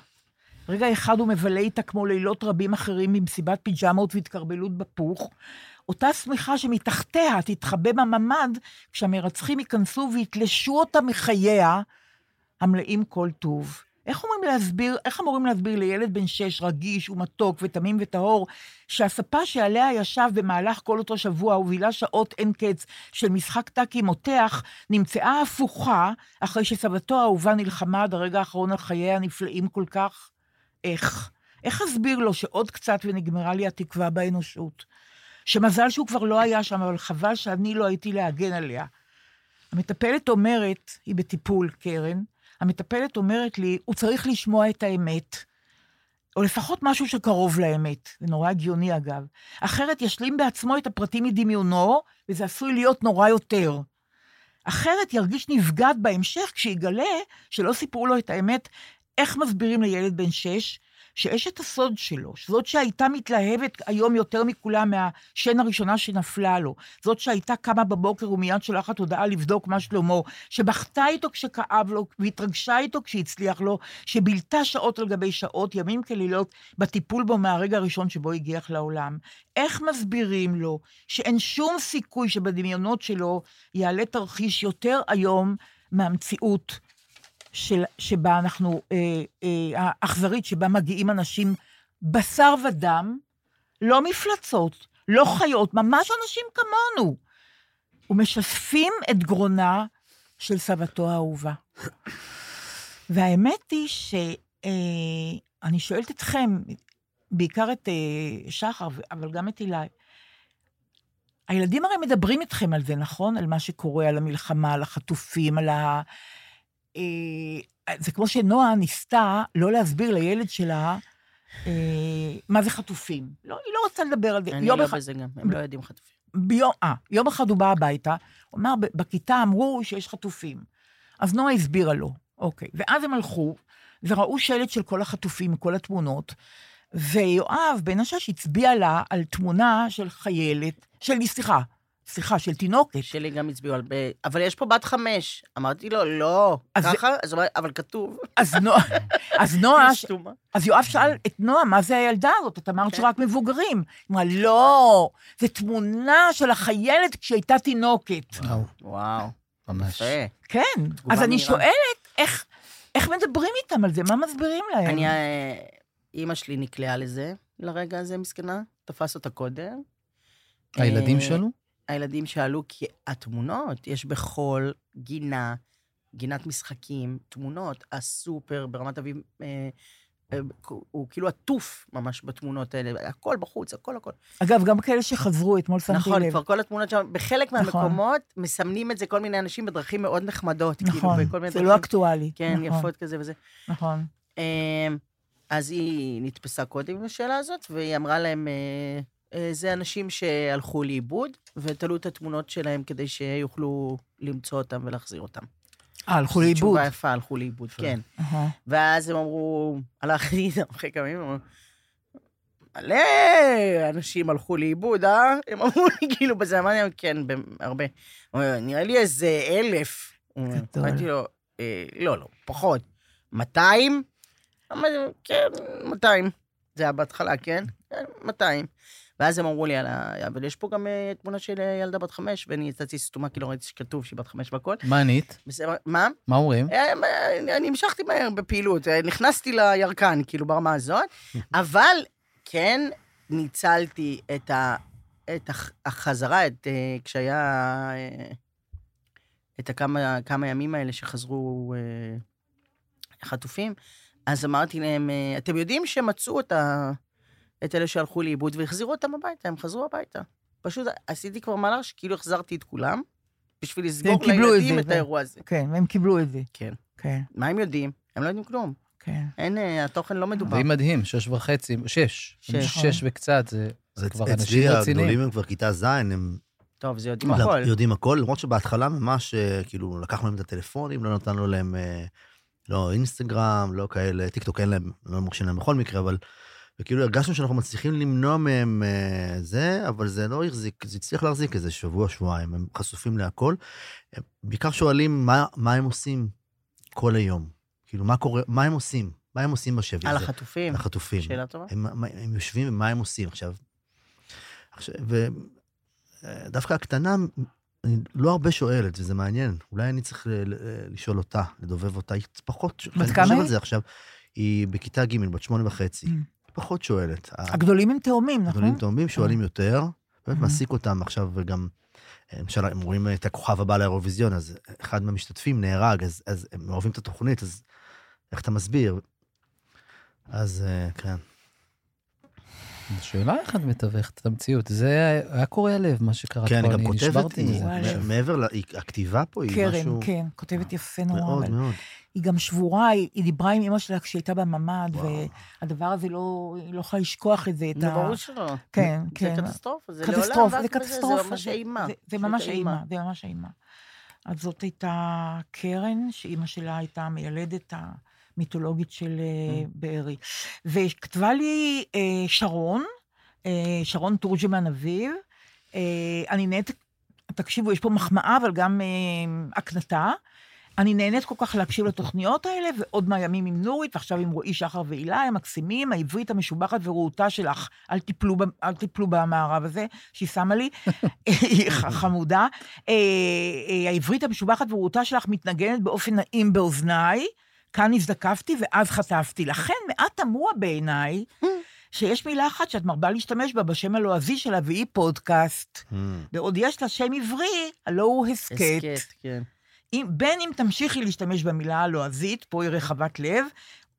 רגע אחד הוא מבלה איתה כמו לילות רבים אחרים במסיבת פיג'מות והתקרבלות בפוך, אותה שמיכה שמתחתיה תתחבא בממ"ד כשהמרצחים ייכנסו ויתלשו אותה מחייה, המלאים כל טוב. איך אומרים להסביר, איך אמורים להסביר לילד בן שש רגיש ומתוק ותמים וטהור, שהספה שעליה ישב במהלך כל אותו שבוע ובילה שעות אין קץ של משחק טאקי מותח, נמצאה הפוכה אחרי שסבתו האהובה נלחמה עד הרגע האחרון על חייה הנפלאים כל כך? איך? איך אסביר לו שעוד קצת ונגמרה לי התקווה באנושות? שמזל שהוא כבר לא היה שם, אבל חבל שאני לא הייתי להגן עליה. המטפלת אומרת, היא בטיפול, קרן, המטפלת אומרת לי, הוא צריך לשמוע את האמת, או לפחות משהו שקרוב לאמת, זה נורא הגיוני אגב, אחרת ישלים בעצמו את הפרטים מדמיונו, וזה עשוי להיות נורא יותר. אחרת ירגיש נבגד בהמשך כשיגלה שלא סיפרו לו את האמת, איך מסבירים לילד בן שש שאשת הסוד שלו, זאת שהייתה מתלהבת היום יותר מכולם מהשן הראשונה שנפלה לו, זאת שהייתה קמה בבוקר ומיד שולחת הודעה לבדוק מה שלמה, שבכתה איתו כשכאב לו והתרגשה איתו כשהצליח לו, שבילתה שעות על גבי שעות, ימים כלילות, בטיפול בו מהרגע הראשון שבו הגיח לעולם. איך מסבירים לו שאין שום סיכוי שבדמיונות שלו יעלה תרחיש יותר איום מהמציאות של, שבה אנחנו, אה, אה, האכזרית, שבה מגיעים אנשים בשר ודם, לא מפלצות, לא חיות, ממש אנשים כמונו, ומשספים את גרונה של סבתו האהובה. והאמת היא שאני אה, אני שואלת אתכם, בעיקר את אה, שחר, ו- אבל גם את אילי, הילדים הרי מדברים איתכם על זה, נכון? על מה שקורה, על המלחמה, על החטופים, על ה... אה, זה כמו שנועה ניסתה לא להסביר לילד שלה אה, מה זה חטופים. לא, היא לא רצתה לדבר על זה.
אני
יום
לא
אחד-
בזה גם, הם לא יודעים חטופים.
ביום, 아, יום אחד הוא בא הביתה, הוא אמר, "ב- בכיתה אמרו שיש חטופים. אז נועה הסבירה לו, אוקיי. ואז הם הלכו, וראו שלט של כל החטופים, כל התמונות, ויואב בן השש הצביע לה על תמונה של חיילת, של, סליחה, סליחה, של תינוקת.
שלי גם הצביעו על... ב- אבל יש פה בת חמש. אמרתי לו, לא.
אז-
ככה? אז הוא אמר, אבל כתוב.
אז נועה, אז נועה, אה, ש-
סתומה.
אז יואב שאל את נועה, מה זה הילדה הזאת? את אמרת
כן.
שרק מבוגרים. היא אמרה, לא, זו תמונה של החיילת כשהייתה תינוקת.
וואו,
וואו,
ממש.
יפה.
כן, אז אני
מהירה.
שואלת, איך, איך מדברים איתם על זה? מה מסבירים להם?
אני, אה, אימא שלי נקלעה לזה, לרגע הזה, מסכנה. תפס אותה קודם.
הילדים
אה,
שלו?
הילדים שאלו, כי התמונות, יש בכל גינה, גינת משחקים, תמונות, הסופר ברמת אביב, אה, אה, הוא כאילו עטוף ממש בתמונות האלה, הכל בחוץ, הכל הכל.
אגב, גם כאלה שחזרו, אתמול שמתי
נכון,
לב.
כבר כל התמונות שם, בחלק
נכון.
מהמקומות מסמנים את זה כל מיני אנשים בדרכים מאוד נחמדות.
נכון,
כאילו, בכל מיני
זה
דרכים,
לא אקטואלי.
כן,
נכון,
יפות כזה וזה.
נכון.
אמ, אז היא נתפסה קודם עם השאלה הזאת, והיא אמרה להם, אה, אה, זה אנשים שהלכו לאיבוד, ותלו את התמונות שלהם כדי שיוכלו למצוא אותם ולהחזיר אותם.
אה, הלכו לאיבוד.
תשובה יפה, הלכו לאיבוד, כן.
אהה.
ואז הם אמרו, הלכתי איתם אחרי כמה ימים, אמרו, מלא אנשים הלכו לאיבוד, אה? הם אמרו לי, כאילו, בזה אמרתי להם, כן, במ- הרבה. הוא אומר, נראה לי איזה אלף. הוא אומר,
גדול.
אמרתי לו, "אה, לא, לא, פחות. 200? אמרתי לו, כן, 200. זה היה בהתחלה, כן? "כן, 200. ואז הם אמרו לי, על ה... אבל יש פה גם אה, תמונה של אה, ילדה בת חמש, ואני יצאתי סתומה, כי לא ראיתי שכתוב שהיא בת חמש והכל.
מה ענית?
בסדר, מה?
מה אומרים?
אה, אה, אני המשכתי מהר בפעילות, אה, נכנסתי לירקן, כאילו, ברמה הזאת, אבל כן ניצלתי את ה... את הח- החזרה, את, אה, כשהיה... אה, את הכמה כמה ימים האלה שחזרו אה, החטופים, אז אמרתי להם, אה, אתם יודעים שמצאו את, ה, את אלה שהלכו לאיבוד והחזירו אותם הביתה, הם חזרו הביתה. פשוט עשיתי כבר מהלך שכאילו החזרתי את כולם, בשביל לסגור
כן, קיבלו את
לילדים
זה,
את
ו-
האירוע הזה.
כן, והם קיבלו את זה.
כן.
כן,
מה הם יודעים? הם לא יודעים כלום.
כן.
אין, אה, התוכן לא מדובר.
זה מדהים, שש וחצי, שש.
שש. נכון.
שש וקצת, זה
זה
כבר
אצלי
אנשים רציניים.
הגדולים הם כבר כיתה ז', הם
טוב, זה יודעים
לא,
הכל.
יודעים הכל, למרות שבהתחלה ממש, אה, כאילו, לקחנו להם את הטלפונים, לא נתנו להם, אה, לא אינסטגרם, לא כאלה, טיקטוק אין להם, לא מרשים להם בכל מקרה, אבל... וכאילו הרגשנו שאנחנו מצליחים למנוע מהם אה, זה, אבל זה לא החזיק, זה הצליח להחזיק איזה שבוע, שבועיים, הם חשופים להכל. הם בעיקר שואלים מה, מה הם עושים כל היום. כאילו, מה קורה, מה הם עושים? מה הם עושים בשבי
על
הזה?
החטופים.
לחטופים.
שאלה טובה.
הם, מה- הם יושבים ומה הם עושים עכשיו. עכשיו ודווקא הקטנה, אני לא הרבה שואלת, וזה מעניין. אולי אני צריך ל- ל- לשאול אותה, לדובב אותה. היא פחות,
בת
אני
כמה
חושב
היא?
על זה עכשיו. היא בכיתה ג', בת שמונה וחצי.
Mm.
היא פחות שואלת.
הגדולים הם תאומים, נכון?
הגדולים תאומים שואלים יותר, באמת
Mhm.
מעסיק אותם עכשיו גם, למשל, הם רואים את הכוכב הבא לאירוויזיון, אז אחד מהמשתתפים נהרג, אז- אז הם אוהבים את התוכנית, אז איך אתה מסביר? אז אה, כן.
השאלה איך את מתווכת את המציאות, זה היה קורע לב מה שקרה
כן,
פה,
אני גם כותבת,
נשברתי
היא-
מזה.
וואלה.
מעבר, ל- היא- הכתיבה פה היא
קרן,
משהו
כן, כותבת יפה נורא.
מאוד
אבל
מאוד.
היא גם שבורה, היא היא דיברה עם אמא שלה כשהייתה בממ"ד,
וואו.
והדבר הזה לא, היא לא יכולה לשכוח את זה, את
זה
ה...
ברור שלא.
כן,
זה
כן.
קטסטרופה, זה לעולם.
קטסטרופה,
רק
זה
בזה,
קטסטרופה.
זה ממש אימה.
זה- זה
פשוט
ממש אימה, זה ממש אימה. אז זאת הייתה קרן, שאימא שלה הייתה המיילדת המיתולוגית של
Mm.
אה, בארי. וכתבה לי אה, שרון, אה, שרון תורג'מן אביב, אה, אני נהנית, תקשיבו, יש פה מחמאה, אבל גם אה, הקנטה. אני נהנית כל כך להקשיב לתוכניות האלה, ועוד מהימים עם נורית, ועכשיו עם רועי שחר והילה, הם מקסימים, העברית המשובחת ורהוטה שלך, אל תיפלו, ב- אל תיפלו במערב הזה, שהיא שמה לי, היא ח- חמודה. אה, אה, העברית המשובחת ורהוטה שלך מתנגנת באופן נעים באוזניי, כאן הזדקפתי ואז חטפתי. לכן מעט תמוה בעיניי, שיש מילה אחת שאת מרבה להשתמש בה בשם הלועזי שלה, והיא פודקאסט.
Mm.
ועוד יש לה שם עברי, הלא הוא הסכת.
הסכת, כן.
אם, בין אם תמשיכי להשתמש במילה הלועזית, פה היא רחבת לב,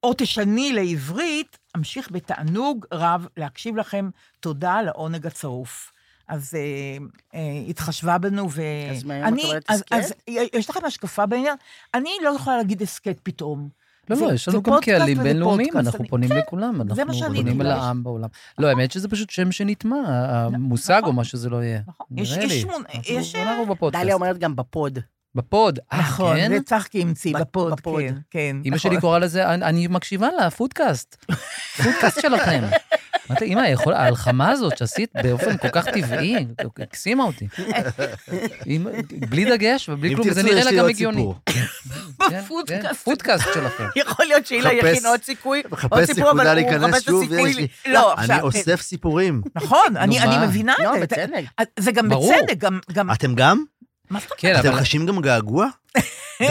או תשני לעברית, אמשיך בתענוג רב להקשיב לכם. תודה על העונג הצרוף. אז אה, אה, התחשבה בנו, ו...
אז מהיום את אומרת
אז,
הסכת?
אז יש לכם השקפה בעניין? אני לא יכולה להגיד הסכת פתאום.
לא,
זה-
לא, יש
זה
לנו גם
פודקאסט
קהלים
וזה
בינלאומיים,
פודקאסט,
אנחנו
אני-
פונים
כן,
לכולם,
זה מה
אנחנו
שאני
פונים אל
מתכוונת.
העם בעולם. לא, האמת שזה פשוט שם שנטמע, המושג או
נכון.
מה שזה לא יהיה.
נכון. יש-
נראה
יש
לי.
שמונה-
אנחנו-
יש, אה,
אנחנו בפודקאסט.
דליה אומרת גם בפוד.
בפוד, אה,
נכון,
כן?
זה צחקי המציא,
בפ-
בפוד,
בפוד.
כן, כן.
אמא
נכון.
שלי קוראה לזה, אני, אני מקשיבה לה, פודקאסט. פודקאסט שלכם. אמרתי, אמא, יכול- ההלחמה הזאת שעשית באופן כל כך טבעי, הקסימה אותי. אמא, בלי דגש ובלי
hmm. אם
כלום, זה
תרצו,
נראה
יש
לה
לי
גם
עוד
הגיוני.
סיפור.
כן,
בפודקאסט.
כן, פודקאסט שלכם.
יכול להיות שהילה
חפש-
יכין עוד סיכוי, עוד
מחפש
סיפור, אבל
סיכוי
הוא מחפש
להיכנס
את
שוב,
הסיכוי.
יש לי.
ל-
לא, עכשיו...
אני כן. אוסף סיפורים.
נכון, אני
נו, מה?
אני מבינה
לא,
את זה.
בצדק.
זה גם
ברור.
בצדק, גם... גם-
אתם גם?
מה זאת אומרת?
כן,
אתם
אבל
חשים גם געגוע?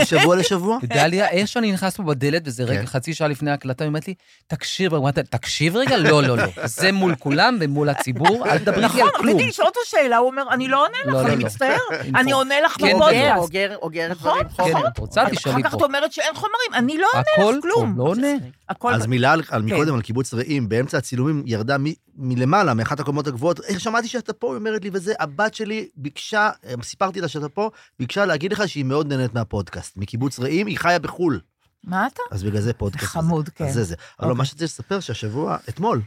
משבוע לשבוע?
דליה, איך שאני נכנס פה בדלת, וזה רגע,
כן.
חצי שעה לפני ההקלטה, היא אומרת לי, תקשיב, רגע." אמרתי, תקשיב רגע, לא, לא, לא. זה מול כולם ומול הציבור, אל תדברי איתי
נכון,
על כלום.
רציתי לשאול אותו שאלה, הוא אומר, אני לא עונה
לא,
לך,
לא,
אני
לא.
מצטער,
עם
אני
חום.
עונה לך
כן,
אוגר,
בפודקאסט.
אוגר, אוגר
נכון,
דברים.
נכון.
חומר.
כן, את רוצה, תשאלי
אחר כך
פה.
את אומרת שאין חומרים, אני לא עונה
הכל
לך כלום.
פה, לא עונה.
הכל...
אז מילה על, על
כן.
מקודם, על קיבוץ רעים, באמצע הצילומים ירדה מ, מלמעלה, מאחת הקומות הגבוהות, איך שמעתי שאתה פה, היא אומרת לי, וזה, הבת שלי ביקשה, אה, סיפרתי לה שאתה פה, ביקשה להגיד לך שהיא מאוד נהנית מהפודקאסט. מקיבוץ רעים, היא חיה בחו"ל,
מה אתה?
אז בגלל זה פודקאסט. הזה.
חמוד, כן.
אז זה זה. אבל לא, מה שרציתי לספר שהשבוע, אתמול,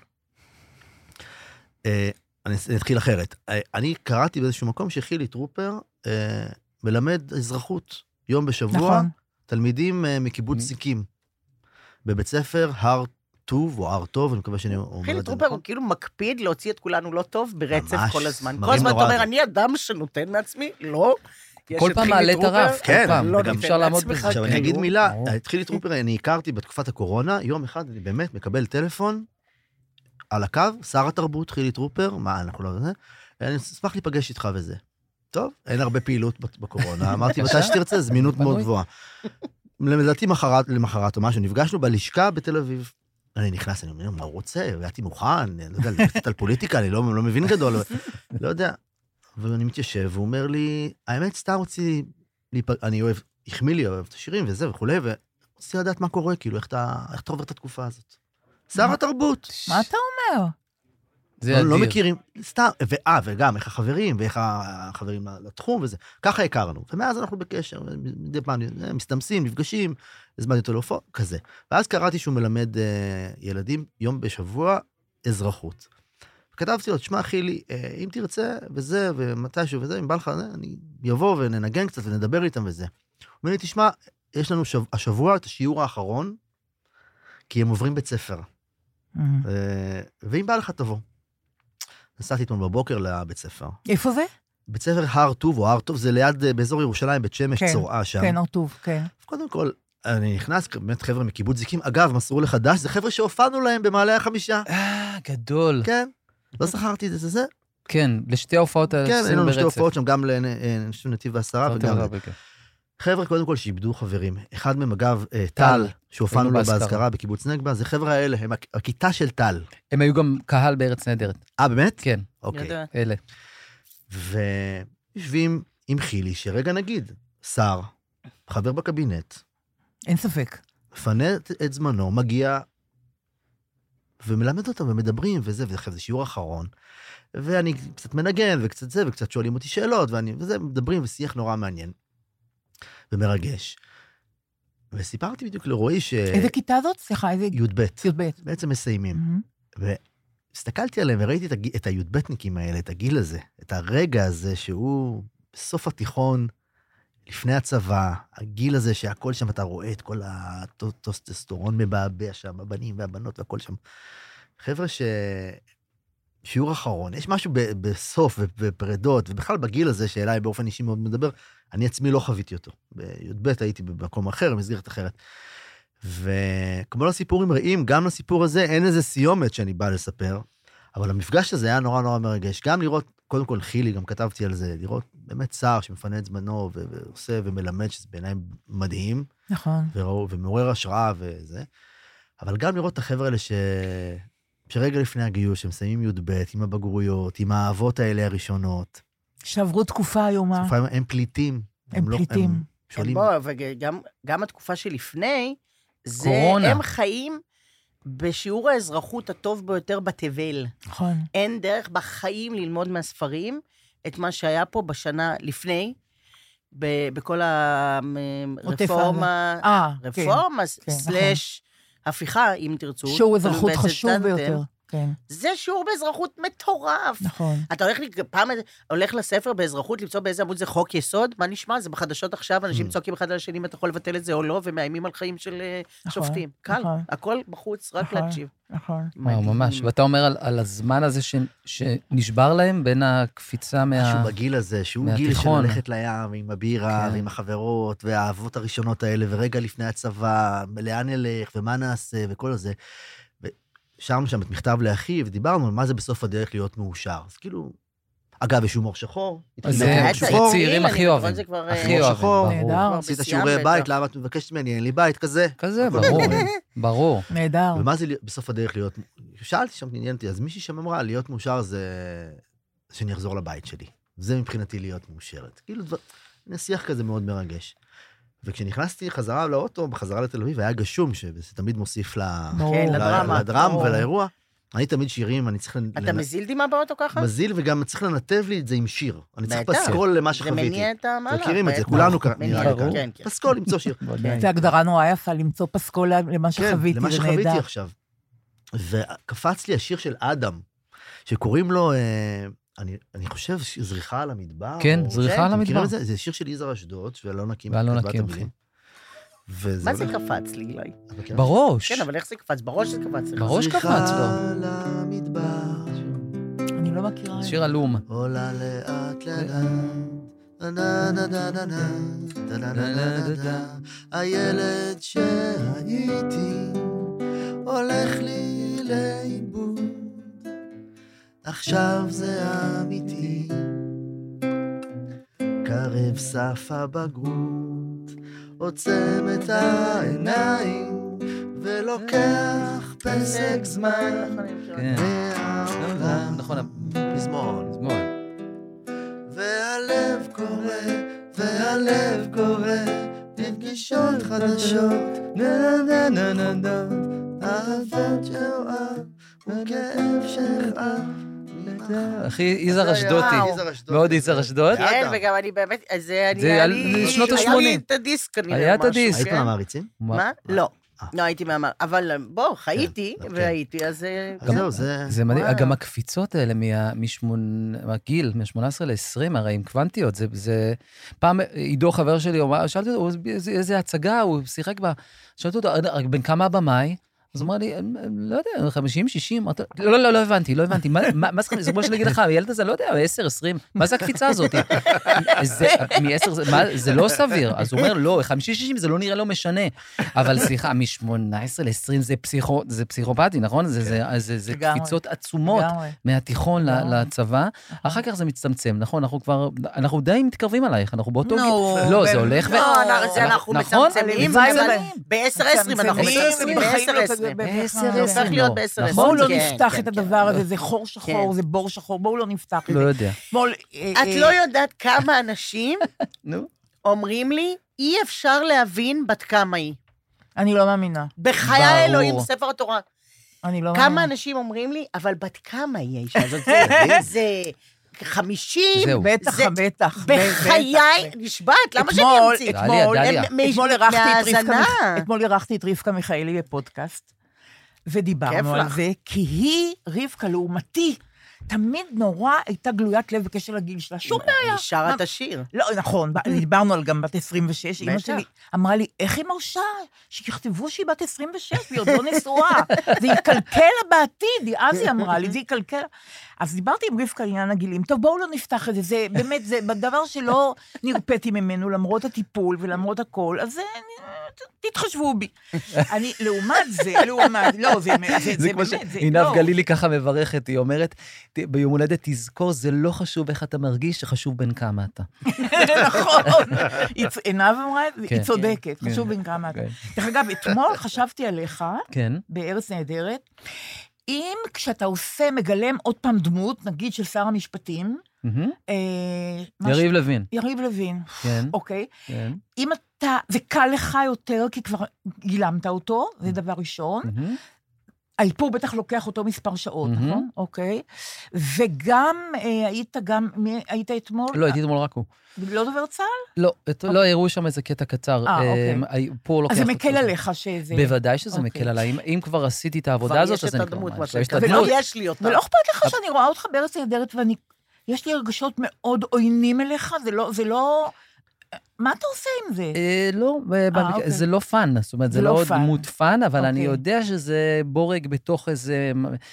אה, אני אס- אני אתחיל אחרת. אה, אני קראתי באיזשהו מקום שחילי טרופר אה, מלמד אזרחות יום בשבוע,
נכון.
תלמידים אה, מקיבוץ
מ-
סיקים, בבית ספר הר טוב או הר טוב, אני מקווה שאני אומר
חילי
את זה
טרופר
נכון.
הוא כאילו מקפיד להוציא את כולנו לא טוב ברצף
ממש,
כל הזמן. כל
מראים
הזמן אתה
נורא
אומר,
זה.
אני אדם שנותן מעצמי, לא. יש
כל
את
פעם
חילי
מעלה את
טרופר,
הרף, כל
כן,
פעם.
לא
גם
ניתן
אפשר לעמוד
לעצמך
בזה.
עכשיו אני אגיד
כאילו,
מילה,
ברור.
את חילי טרופר אני הכרתי בתקופת הקורונה, יום אחד אני באמת מקבל טלפון על הקו, שר התרבות חילי טרופר, מה אנחנו לא... זה, אני אשמח להיפגש איתך וזה. טוב, אין הרבה פעילות בת- בקורונה, אמרתי מתי שתרצה, זמינות מאוד
בנוי.
גבוהה. לדעתי מחרת, למחרת או משהו, נפגשנו בלשכה בתל אביב. אני נכנס, אני אומר, מה הוא רוצה? הגעתי מוכן, אני לא יודע, לדבר קצת על פוליטיקה, אני לא, לא מבין גדול, אבל- לא יודע. ואני מתיישב, והוא אומר לי, האמת, סתם רציתי, להיפ- אני אוהב, החמיא לי, אוהב את השירים וזה וכולי, ורציתי לדעת מה קורה, כאילו, איך אתה, איך אתה עובר את התקופה הזאת. שר התרבות.
מה אתה אומר?
זה
לא, לא
אדיר.
מכירים, סתם, ואה, וגם איך החברים, ואיך החברים לתחום וזה. ככה הכרנו, ומאז אנחנו בקשר, מדי פעם אה, מסתמסים, נפגשים, הזמנתי אותו להופעות, כזה. ואז קראתי שהוא מלמד אה, ילדים יום בשבוע אזרחות. כתבתי לו, תשמע, חילי, אה, אם תרצה, וזה, ומתישהו, וזה, אם בא לך, זה, אני אבוא וננגן קצת ונדבר איתם וזה. הוא אומר לי, תשמע, יש לנו שב, השבוע את השיעור האחרון, כי הם עוברים בית ספר.
Mm.
אה, ואם בא לך, תבוא. נסעתי אתמול בבוקר לבית ספר.
איפה זה?
בית ספר הר טוב, או הר טוב זה ליד, אה, באזור ירושלים, בית שמש,
כן,
צורעה שם.
כן, הרטוב, כן.
קודם כל, אני נכנס, באמת חבר'ה מקיבוץ זיקים, אגב, מסרו לחדש, זה חבר'ה שהופענו להם במעלה החמישה.
אה, גדול.
כן, לא זכרתי את זה, זה זה.
כן, לשתי ההופעות האלה
כן,
עשינו
היו לנו
ברצף.
שתי הופעות שם, גם לנתיב ועשרה
זאת
וגם...
אומרת, כן.
חבר'ה, קודם כל, שאיבדו חברים. אחד מהם, אגב, אה, טל, שהופענו
היינו
לו
באזכרה.
באזכרה בקיבוץ נגבה, זה חבר'ה האלה, הם הכ- הכיתה של טל.
הם היו גם קהל בארץ נהדרת.
אה, באמת?
כן,
אוקיי.
יודעת.
אלה.
ויושבים עם חילי, שרגע נגיד, שר, חבר בקבינט,
אין ספק.
מפנה את, את זמנו, מגיע ומלמד אותם ומדברים וזה, ואחרי זה שיעור אחרון. ואני קצת מנגן וקצת זה, וקצת שואלים אותי שאלות, ואני, וזה, מדברים ושיח נורא מעניין ומרגש. וסיפרתי בדיוק לרועי ש...
איזה כיתה זאת? סליחה, איזה...
י"ב,
י"ב.
בעצם מסיימים.
מהמם.
הסתכלתי עליהם וראיתי את, הג... את הי"בניקים האלה, את הגיל הזה, את הרגע הזה שהוא בסוף התיכון, לפני הצבא, הגיל הזה שהכל שם, אתה רואה את כל הטוסטסטורון מבעבע שם, הבנים והבנות והכל שם. חבר'ה ש... שיעור אחרון, יש משהו ב... בסוף ופרדות, ובכלל בגיל הזה, שאליי באופן אישי מאוד מדבר, אני עצמי לא חוויתי אותו. בי"ב הייתי במקום אחר, במסגרת אחרת. וכמו לסיפור עם רעים, גם לסיפור הזה אין איזה סיומת שאני בא לספר, אבל המפגש הזה היה נורא נורא מרגש. גם לראות, קודם כל חילי, גם כתבתי על זה, לראות באמת שר שמפנה את זמנו ו- ועושה ומלמד, שזה בעיניי מדהים,
נכון.
וראו, ומעורר השראה וזה. אבל גם לראות את החבר'ה האלה ש... שרגע לפני הגיוס, הם מסיימים י"ב, עם הבגרויות, עם האהבות האלה הראשונות.
שעברו תקופה איומה.
לפעמים הם פליטים.
הם פליטים.
הם
כן,
שואלים,
בוא, וגם גם התקופה שלפני, זה,
קורונה.
הם חיים בשיעור האזרחות הטוב ביותר בתבל.
נכון.
אין דרך בחיים ללמוד מהספרים את מה שהיה פה בשנה לפני, ב- בכל
עוטף
הרפורמה,
אה, כן.
רפורמה
כן,
סלאש הפיכה, אם תרצו.
שהוא
תלוי
אזרחות
באיזה
חשוב
צד אתם.
ביותר. כן,
זה שיעור באזרחות מטורף.
נכון.
אתה הולך, לק- פעם הולך לספר באזרחות למצוא באיזה עמוד זה חוק יסוד? מה נשמע? זה בחדשות עכשיו, אנשים
Hmm.
Mm.
צועקים אחד על השני אם אתה יכול לבטל את זה או לא, ומאיימים על חיים של אה,
נכון,
שופטים. קל,
נכון.
הכל בחוץ, רק
נכון.
להקשיב.
נכון.
וואו, ממש.
מדהים.
ואתה אומר על- על הזמן הזה ש- שנשבר להם בין הקפיצה
משהו
מה...
בגיל הזה, שהוא גיל של
מהתיכון.
ללכת לים עם הבירה
כן.
ועם החברות, והאהבות הראשונות האלה, ורגע לפני הצבא, לאן נלך ומה נעשה וכל זה. ושרנו שם את מכתב לאחי, ודיברנו על מה זה בסוף הדרך להיות מאושר. אז כאילו... אגב, יש הומור שחור. התחיל
זה
להיות
היה
הומור
את
זה
שחור,
צעיר,
צעירים
אני
הכי
מדברת,
אוהבים.
זה כבר,
הכי
אה,
אוהבים,
שחור.
ברור.
נהדר.
עשית
בשיאם
שיעורי
בטח.
בית, למה את מבקשת ממני, אין לי בית, כזה.
כזה, ברור. ברור.
אוקיי.
נהדר.
ומה זה להיות- בסוף הדרך להיות... שאלתי שם, עניין אותי, אז מישהי שם אמרה, להיות מאושר זה שאני אחזור לבית שלי. זה מבחינתי להיות מאושרת. כאילו, דבר... הנה שיח כזה מאוד מרגש. וכשנכנסתי חזרה לאוטו, בחזרה לתל אביב, היה גשום, שזה תמיד מוסיף ל...
ברור.
כן,
ל-
לדרמה.
לדרם
ברור.
ולאירוע. אני תמיד שירים, אני צריך... לנ-
אתה
לנ-
מזיל דמעה באוטו ככה?
מזיל, וגם צריך לנתב לי את זה עם שיר. אני צריך
בטח.
פסקול למה
זה
שחוויתי.
מניע את המהלך.
מכירים את זה,
בטח.
כולנו כ- נראה לי
מניע,
ככה.
כן, כן.
פסקול, למצוא שיר.
כן.
זו הגדרה נורא יפה, למצוא פסקול למה
כן,
שחוויתי,
למה
זה
שחוויתי
נהדר.
עכשיו. וקפץ לי השיר של אדם, שקוראים לו, אה, אני, אני חושב, ש- זריחה על המדבר.
כן,
או-
זריחה
אתם
על
מכירים
המדבר.
את זה? זה שיר של יזהר אשדוד, ואלונה קים.
ואלונה
כתבה את
קים,
המילים.
אוקיי.
וזה
מה זה
הולך-
קפץ לי, גלי?
את מכירה?
בראש.
כן, אבל איך זה קפץ? בראש זה קפץ לך.
בראש קפץ לו.
זריחה על המדבר,
אני לא מכירה את זה.
שיר עלום.
עולה לאט לאט. נה נה נה נה נה נה נה נה נה נה נה נה הילד שהייתי הולך לי לאיבוד עכשיו זה אמיתי קרב סף הבגרות עוצם את העיניים ולוקח פסק זמן
כן.
מהעולם.
נכון,
מזמור.
המזמור.
והלב קורא, והלב קורא, לפגישות חדשות, נה נה נה נה נה, אהבות שאוהב, וכאב שאכאב.
אחי, יזהר אשדותי. מאוד יזהר אשדוד.
כן,
אדם.
וגם אני באמת, אז זה אני...
זה
היה
על-
לי-
זה שנות
היה לי
ה-שמונים.
את הדיסק כנראה.
היה את
משהו,
הדיסק.
היית
כן?
מהמעריצים?
מה? לא.
אה.
לא, הייתי מהמר... אבל בוא, חייתי,
כן, אוקיי.
והייתי, אז... אה,
אז זהו, זה...
זה מדהים,
וואו.
גם הקפיצות האלה מה- משמון- מהגיל, מ-18 ל-20, הרי עם קוונטיות, זה- זה... פעם עידו, חבר שלי, הוא אמר- שאלתי אותו, הוא- איזה- איזה הצגה, הוא שיחק בה, שאלתי אותו, "רק בן כמה הבמאי? אז הוא אמר לי, לא יודע, 50, 60, אמרתי לו, לא, לא, לא הבנתי, לא הבנתי, מה- מה מה זה 50? זה כמו שאני אגיד לך, הילד הזה, לא יודע, 10, 20, מה זה הקפיצה הזאת? זה- מ-10, זה- מה- זה לא סביר. אז הוא אומר, לא, 50, 60 זה לא נראה לו משנה. אבל סליחה, מ-18 ל-20 זה פסיכו- זה פסיכופתי, נכון? זה- זה- זה זה
לגמרי.
קפיצות עצומות.
לגמרי.
מהתיכון ל-
לא.
לצבא, אחר כך זה מצטמצם, נכון? אנחנו כבר, אנחנו די מתקרבים אלייך, אנחנו באותו...
נו,
גיל. לא, זה הלוואי
לא,
לא, אנחנו- זה אנחנו
נכון,
מצמצמים,
הלוואי
אבל
ולא.
ב-10-20, אנחנו
מצמצמים,
מצמצמים
בחיים לא
ב-10-20.
תגיע ב-
עשר,
לא.
עשר,
הופך להיות
לא.
ב-10,
נכון,
בואו לא
כן,
נפתח
כן,
את
כן.
הדבר הזה, זה חור שחור,
כן.
זה בור שחור, בואו לא נפתח את
לא
זה.
יודע.
אתמול, אה,
את
אה,
לא יודעת כמה אנשים
נו.
אומרים לי, אי אפשר להבין בת כמה היא.
אני לא מאמינה.
בחיי
ברור.
האלוהים, ספר התורה.
אני לא מאמינה.
כמה אנשים אומרים לי, אבל בת כמה היא האישה הזאת? זה חמישים?
זהו.
בטח,
זה-
בטח.
בחיי,
בטח.
נשבעת, למה שאני
אתמול-
אמציא?
דליה,
אתמול,
דליה.
הם- מ-
אתמול אירחתי את רבקה
מההאזנה.
מיכ- אתמול אירחתי את רבקה מיכאלי בפודקאסט,
כיף
ודיברנו על
לך.
זה, כי היא, רבקה, לעומתי, תמיד נורא הייתה גלוית לב בקשר לגיל שלה, שום בעיה.
היא שרה את השיר.
לא, נכון, ב- דיברנו על גם בת 26, אמא
בטח.
שלי אמרה לי, איך היא מרשה שיכתבו שהיא בת 26 והיא עוד לא נשואה? זה יקלקל לה בעתיד, היא- אז היא אמרה לי, זה יקלקל. אז דיברתי עם רבקה על עניין הגילים, טוב, בואו לא נפתח את זה, זה באמת, זה דבר שלא נרפאתי ממנו, למרות הטיפול ולמרות הכל, אז זה... תתחשבו בי. אני, לעומת זה, לעומת, לא, זה זה- זה
זה כמו
באמת, זה,
שעינב
לא.
גלילי ככה מברכת, היא אומרת, "ת- ביום הולדת תזכור, זה לא חשוב איך אתה מרגיש, שחשוב בין כמה אתה.
נכון. היא צ- עינב אמרה את זה,
כן.
היא צודקת,
כן.
חשוב בן כמה אתה.
כן.
דרך אגב, אתמול חשבתי עליך,
כן,
בארץ נהדרת, אם כשאתה עושה, מגלם עוד פעם דמות, נגיד של שר המשפטים,
מהמם.
אה, מה ש-
יריב לוין,
יריב לוין,
כן,
אוקיי?
כן.
אם אתה, זה קל לך יותר, כי כבר גילמת אותו, זה דבר ראשון.
מהמם.
האיפור בטח לוקח אותו מספר שעות,
מהמם.
נכון? אוקיי. וגם אה, היית גם, מי- היית אתמול?
לא, הייתי אתמול רק הוא.
לא דובר צה"ל?
לא, את- לא, הראו שם איזה קטע קצר.
אוקיי. אה, אוקיי.
אה, היו- פה לוקח
אז זה
אותו
מקל
זמן.
עליך שזה...
בוודאי שזה
אוקיי.
מקל עליי. אם- אם כבר עשיתי את
כבר
העבודה הזאת,
יש
אז
את
אני כבר...
הדמות, מה
כבר יש את
שנקרא.
הדמות.
ולא, יש לי אותה.
אה.
ולא אכפת לך שאני רואה אותך בארץ נהדרת ואני... יש לי רגשות מאוד עוינים אליך, זה לא... זה לא... מה אתה עושה עם זה?
אה, לא, אה, במק-
אוקיי.
זה לא פאן, זאת אומרת, זה
זה לא
לא
פאן.
דמות פאן, אבל אני
אוקיי.
יודע שזה בורג בתוך איזה...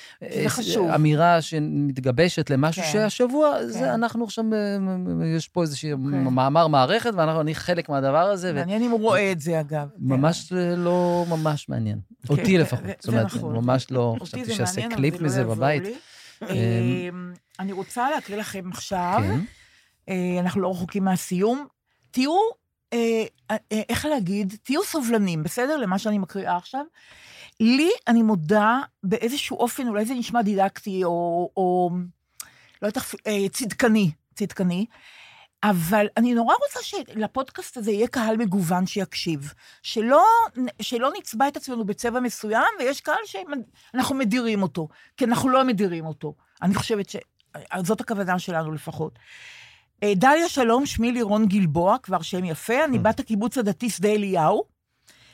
שזה
אה,
חשוב.
אמירה שמתגבשת למשהו
כן.
שהשבוע, זה-
כן. אוקיי.
אנחנו עכשיו, אה, יש פה איזשהו מאמר מערכת, ואני חלק מהדבר הזה, ו-
מעניין אם הוא רואה את זה, אגב.
ממש אה, לא ממש מעניין.
כן,
אותי
זה-
לפחות.
זה-
זאת
זה
אומרת,
נכון.
ממש לא
אותי
חשבתי
זה
שיעשה
מעניין, אבל
קליפ
זה לא
מזה
יעזור
בבית.
לי. אמ, אני רוצה להקריא לכם עכשיו,
כן.
אה, אנחנו לא רחוקים מהסיום. תהיו, אה, אה, אה, איך להגיד, תהיו סובלנים, בסדר? למה שאני מקריאה עכשיו. לי, אני מודה, באיזשהו אופן, אולי זה נשמע דידקטי, או, או לא יודעת, איך, אה, צדקני, צדקני, אבל אני נורא רוצה שלפודקאסט הזה יהיה קהל מגוון שיקשיב. שלא, שלא נצבע את עצמנו בצבע מסוים, ויש קהל שאנחנו מדירים אותו, כי אנחנו לא מדירים אותו. אני חושבת ש... זאת הכוונה שלנו לפחות. אה, דליה שלום, שמי לירון גלבוע, כבר שם יפה, אני בת הקיבוץ הדתי שדה אליהו,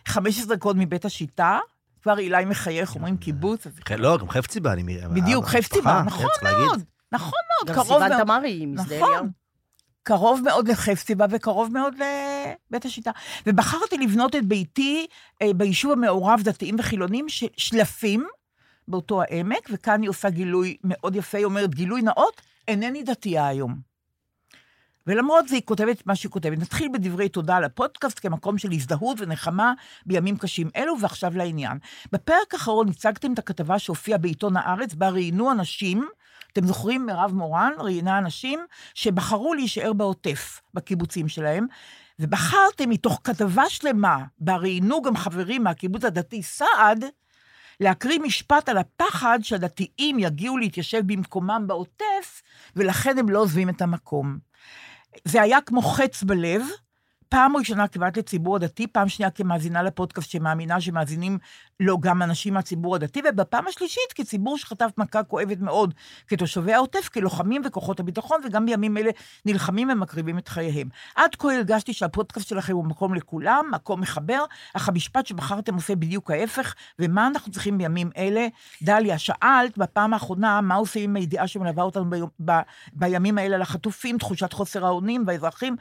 15 דקות מבית השיטה, כבר אילי מחייך, אומרים קיבוץ, אז
לא, גם חפציבה, אני מראה.
בדיוק, חפציבה, נכון מאוד, נכון מאוד,
גם
קרוב
סיוון
מאוד.
תמרי היא משדה אליהו.
נכון. קרוב מאוד לחפציבה וקרוב מאוד לבית השיטה. ובחרתי לבנות את ביתי אה, ביישוב המעורב דתיים וחילונים, ש- שלפים, באותו העמק, וכאן היא עושה גילוי מאוד יפה, היא אומרת, גילוי נאות, אינני דתייה היום. ולמרות זה היא כותבת את מה שהיא כותבת. נתחיל בדברי תודה לפודקאסט כמקום של הזדהות ונחמה בימים קשים אלו, ועכשיו לעניין. בפרק האחרון הצגתם את הכתבה שהופיעה בעיתון הארץ, בה ראיינו אנשים, אתם זוכרים, מירב מורן ראיינה אנשים שבחרו להישאר בעוטף, בקיבוצים שלהם, ובחרתם מתוך כתבה שלמה, בה ראיינו גם חברים מהקיבוץ הדתי סעד, להקריא משפט על הפחד שהדתיים יגיעו להתיישב במקומם בעוטף, ולכן הם לא עוזבים את המקום. זה היה כמו חץ בלב. פעם ראשונה כמעט לציבור הדתי, פעם שנייה כמאזינה לפודקאסט שמאמינה שמאזינים לו גם אנשים מהציבור הדתי, ובפעם השלישית כציבור שחטף מכה כואבת מאוד כתושבי העוטף, כלוחמים וכוחות הביטחון, וגם בימים אלה נלחמים ומקריבים את חייהם. עד כה הרגשתי שהפודקאסט שלכם הוא מקום לכולם, מקום מחבר, אך המשפט שבחרתם עושה בדיוק ההפך, ומה אנחנו צריכים בימים אלה? דליה, שאלת בפעם האחרונה מה עושים עם הידיעה שמלווה אותנו ביום, ב, בימים האלה על החטופים, תחושת חוסר האונים והאזרחים.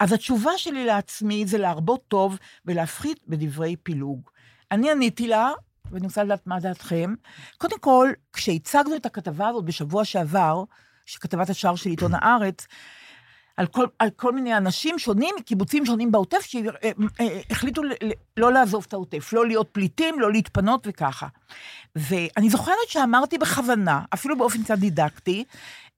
אז התשובה שלי לעצמי זה להרבות טוב ולהפחית בדברי פילוג. אני עניתי לה, ואני רוצה לדעת מה דעתכם. קודם כל, כשהצגנו את הכתבה הזאת בשבוע שעבר, שכתבת השער של עיתון הארץ, על כל, על כל מיני אנשים שונים, מקיבוצים שונים בעוטף, אה, שהחליטו ל- ל- לא לעזוב את העוטף, לא להיות פליטים, לא להתפנות וככה. ואני זוכרת שאמרתי בכוונה, אפילו באופן קצת דידקטי,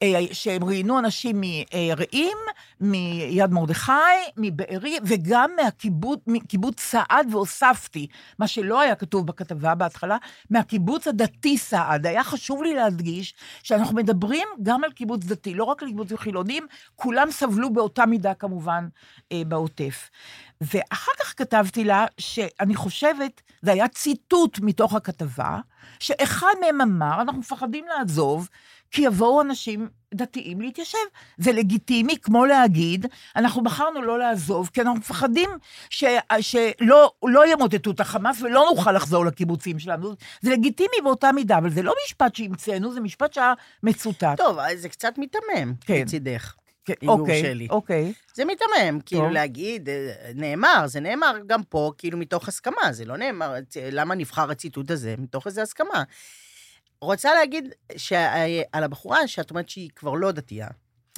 אה, שהם ראיינו אנשים אה, מרעים, מיד מרדכי, מבארי, וגם מהקיבוץ, מקיבוץ סעד, והוספתי, מה שלא היה כתוב בכתבה בהתחלה, מהקיבוץ הדתי סעד. היה חשוב לי להדגיש שאנחנו מדברים גם על קיבוץ דתי, לא רק על קיבוצים חילונים, כולם סבלו באותה מידה כמובן אה, בעוטף. ואחר כך כתבתי לה שאני חושבת, זה היה ציטוט מתוך הכתבה, שאחד מהם אמר, אנחנו מפחדים לעזוב, כי יבואו אנשים דתיים להתיישב. זה לגיטימי כמו להגיד, אנחנו בחרנו לא לעזוב, כי אנחנו מפחדים ש, שלא לא ימוטטו את החמאס ולא נוכל לחזור לקיבוצים שלנו. זה לגיטימי באותה מידה, אבל זה לא משפט שהמצאנו, זה משפט שהיה מצוטט.
טוב, אז זה קצת מיתמם,
כן.
מצידך.
כן,
אם יורשה
אוקיי,
לי.
אוקיי.
זה מיתמם, כאילו
טוב.
להגיד, אה, נאמר, זה נאמר גם פה, כאילו מתוך הסכמה, זה לא נאמר, צ- למה נבחר הציטוט הזה? מתוך איזה הסכמה. רוצה להגיד שה- על הבחורה שאת אומרת שהיא כבר לא דתייה.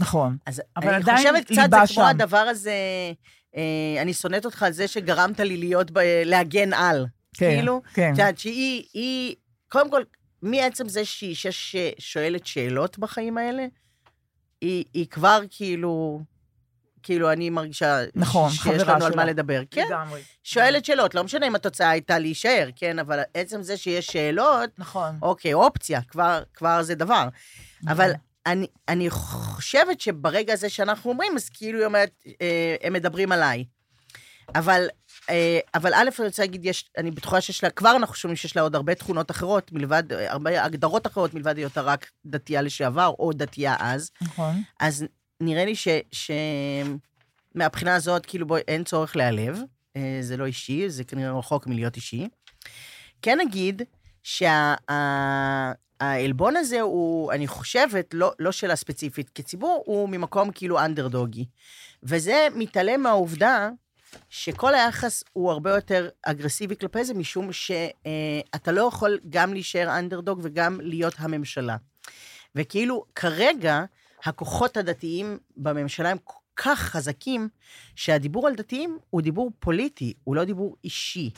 נכון.
אז
אבל
אני
עדיין
חושבת קצת, זה
ליבה
כמו
שם.
הדבר הזה, אה, אני שונאת אותך על זה שגרמת לי להיות, ב, להגן על.
כן,
כאילו,
כן.
את יודעת, שהיא, היא, קודם כל, מעצם זה שהיא אישה ששואלת שאלות בחיים האלה, היא, היא כבר כאילו, כאילו, אני מרגישה
נכון,
שיש לנו
חברה
על מה
שלה.
לדבר. כן,
לגמרי.
שואלת שאלות, לא משנה אם התוצאה הייתה להישאר, כן, אבל עצם זה שיש שאלות,
נכון.
אוקיי, אופציה, כבר, כבר זה דבר. אבל אני, אני חושבת שברגע הזה שאנחנו אומרים, אז כאילו היא אומרת, אה, הם מדברים עליי. אבל, אה, אבל א', אני רוצה להגיד, יש, אני בטוחה שיש לה, כבר אנחנו שומעים שיש לה עוד הרבה תכונות אחרות, מלבד, אה, הרבה הגדרות אחרות, מלבד היותה רק דתייה לשעבר, או דתייה אז.
נכון.
אז נראה לי ש... ש... מהבחינה הזאת, כאילו, בואי, אין צורך להיעלב. אה, זה לא אישי, זה כנראה רחוק מלהיות אישי. כן נגיד שהעלבון הזה הוא, אני חושבת, לא, לא שלה ספציפית כציבור, הוא ממקום כאילו אנדרדוגי. וזה מתעלם מהעובדה שכל היחס הוא הרבה יותר אגרסיבי כלפי זה, משום שאתה לא יכול גם להישאר אנדרדוג וגם להיות הממשלה. וכאילו, כרגע, הכוחות הדתיים בממשלה הם כל כך חזקים, שהדיבור על דתיים הוא דיבור פוליטי, הוא לא דיבור אישי.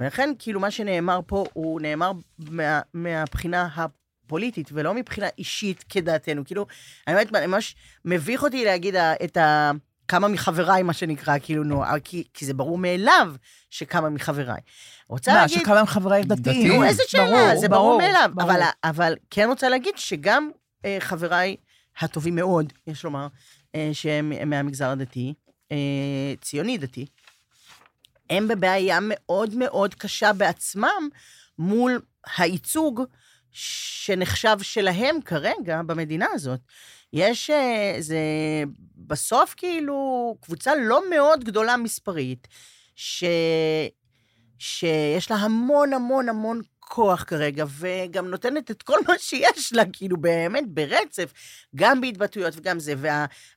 ולכן, כאילו, מה שנאמר פה, הוא נאמר מה, מהבחינה הפוליטית, ולא מבחינה אישית כדעתנו. כאילו, אני באמת, ממש מביך אותי להגיד ה- את ה... כמה מחבריי, מה שנקרא, כאילו, נו, אבל כי, כי זה ברור מאליו שכמה מחבריי. רוצה
מה,
להגיד...
שכמה הם חברי דתיים?
דתיים.
נו, איזה שאלה,
ברור,
זה ברור, מאליו.
ברור.
אבל, אבל כן רוצה להגיד שגם אה, חבריי הטובים מאוד, יש לומר, אה, שהם מהמגזר הדתי, אה, ציוני דתי, הם בבעיה מאוד מאוד קשה בעצמם מול הייצוג שנחשב שלהם כרגע במדינה הזאת. יש, אה, זה בסוף כאילו קבוצה לא מאוד גדולה מספרית, ש... שיש לה המון המון המון כוח כרגע, וגם נותנת את כל מה שיש לה, כאילו באמת ברצף, גם בהתבטאויות וגם זה.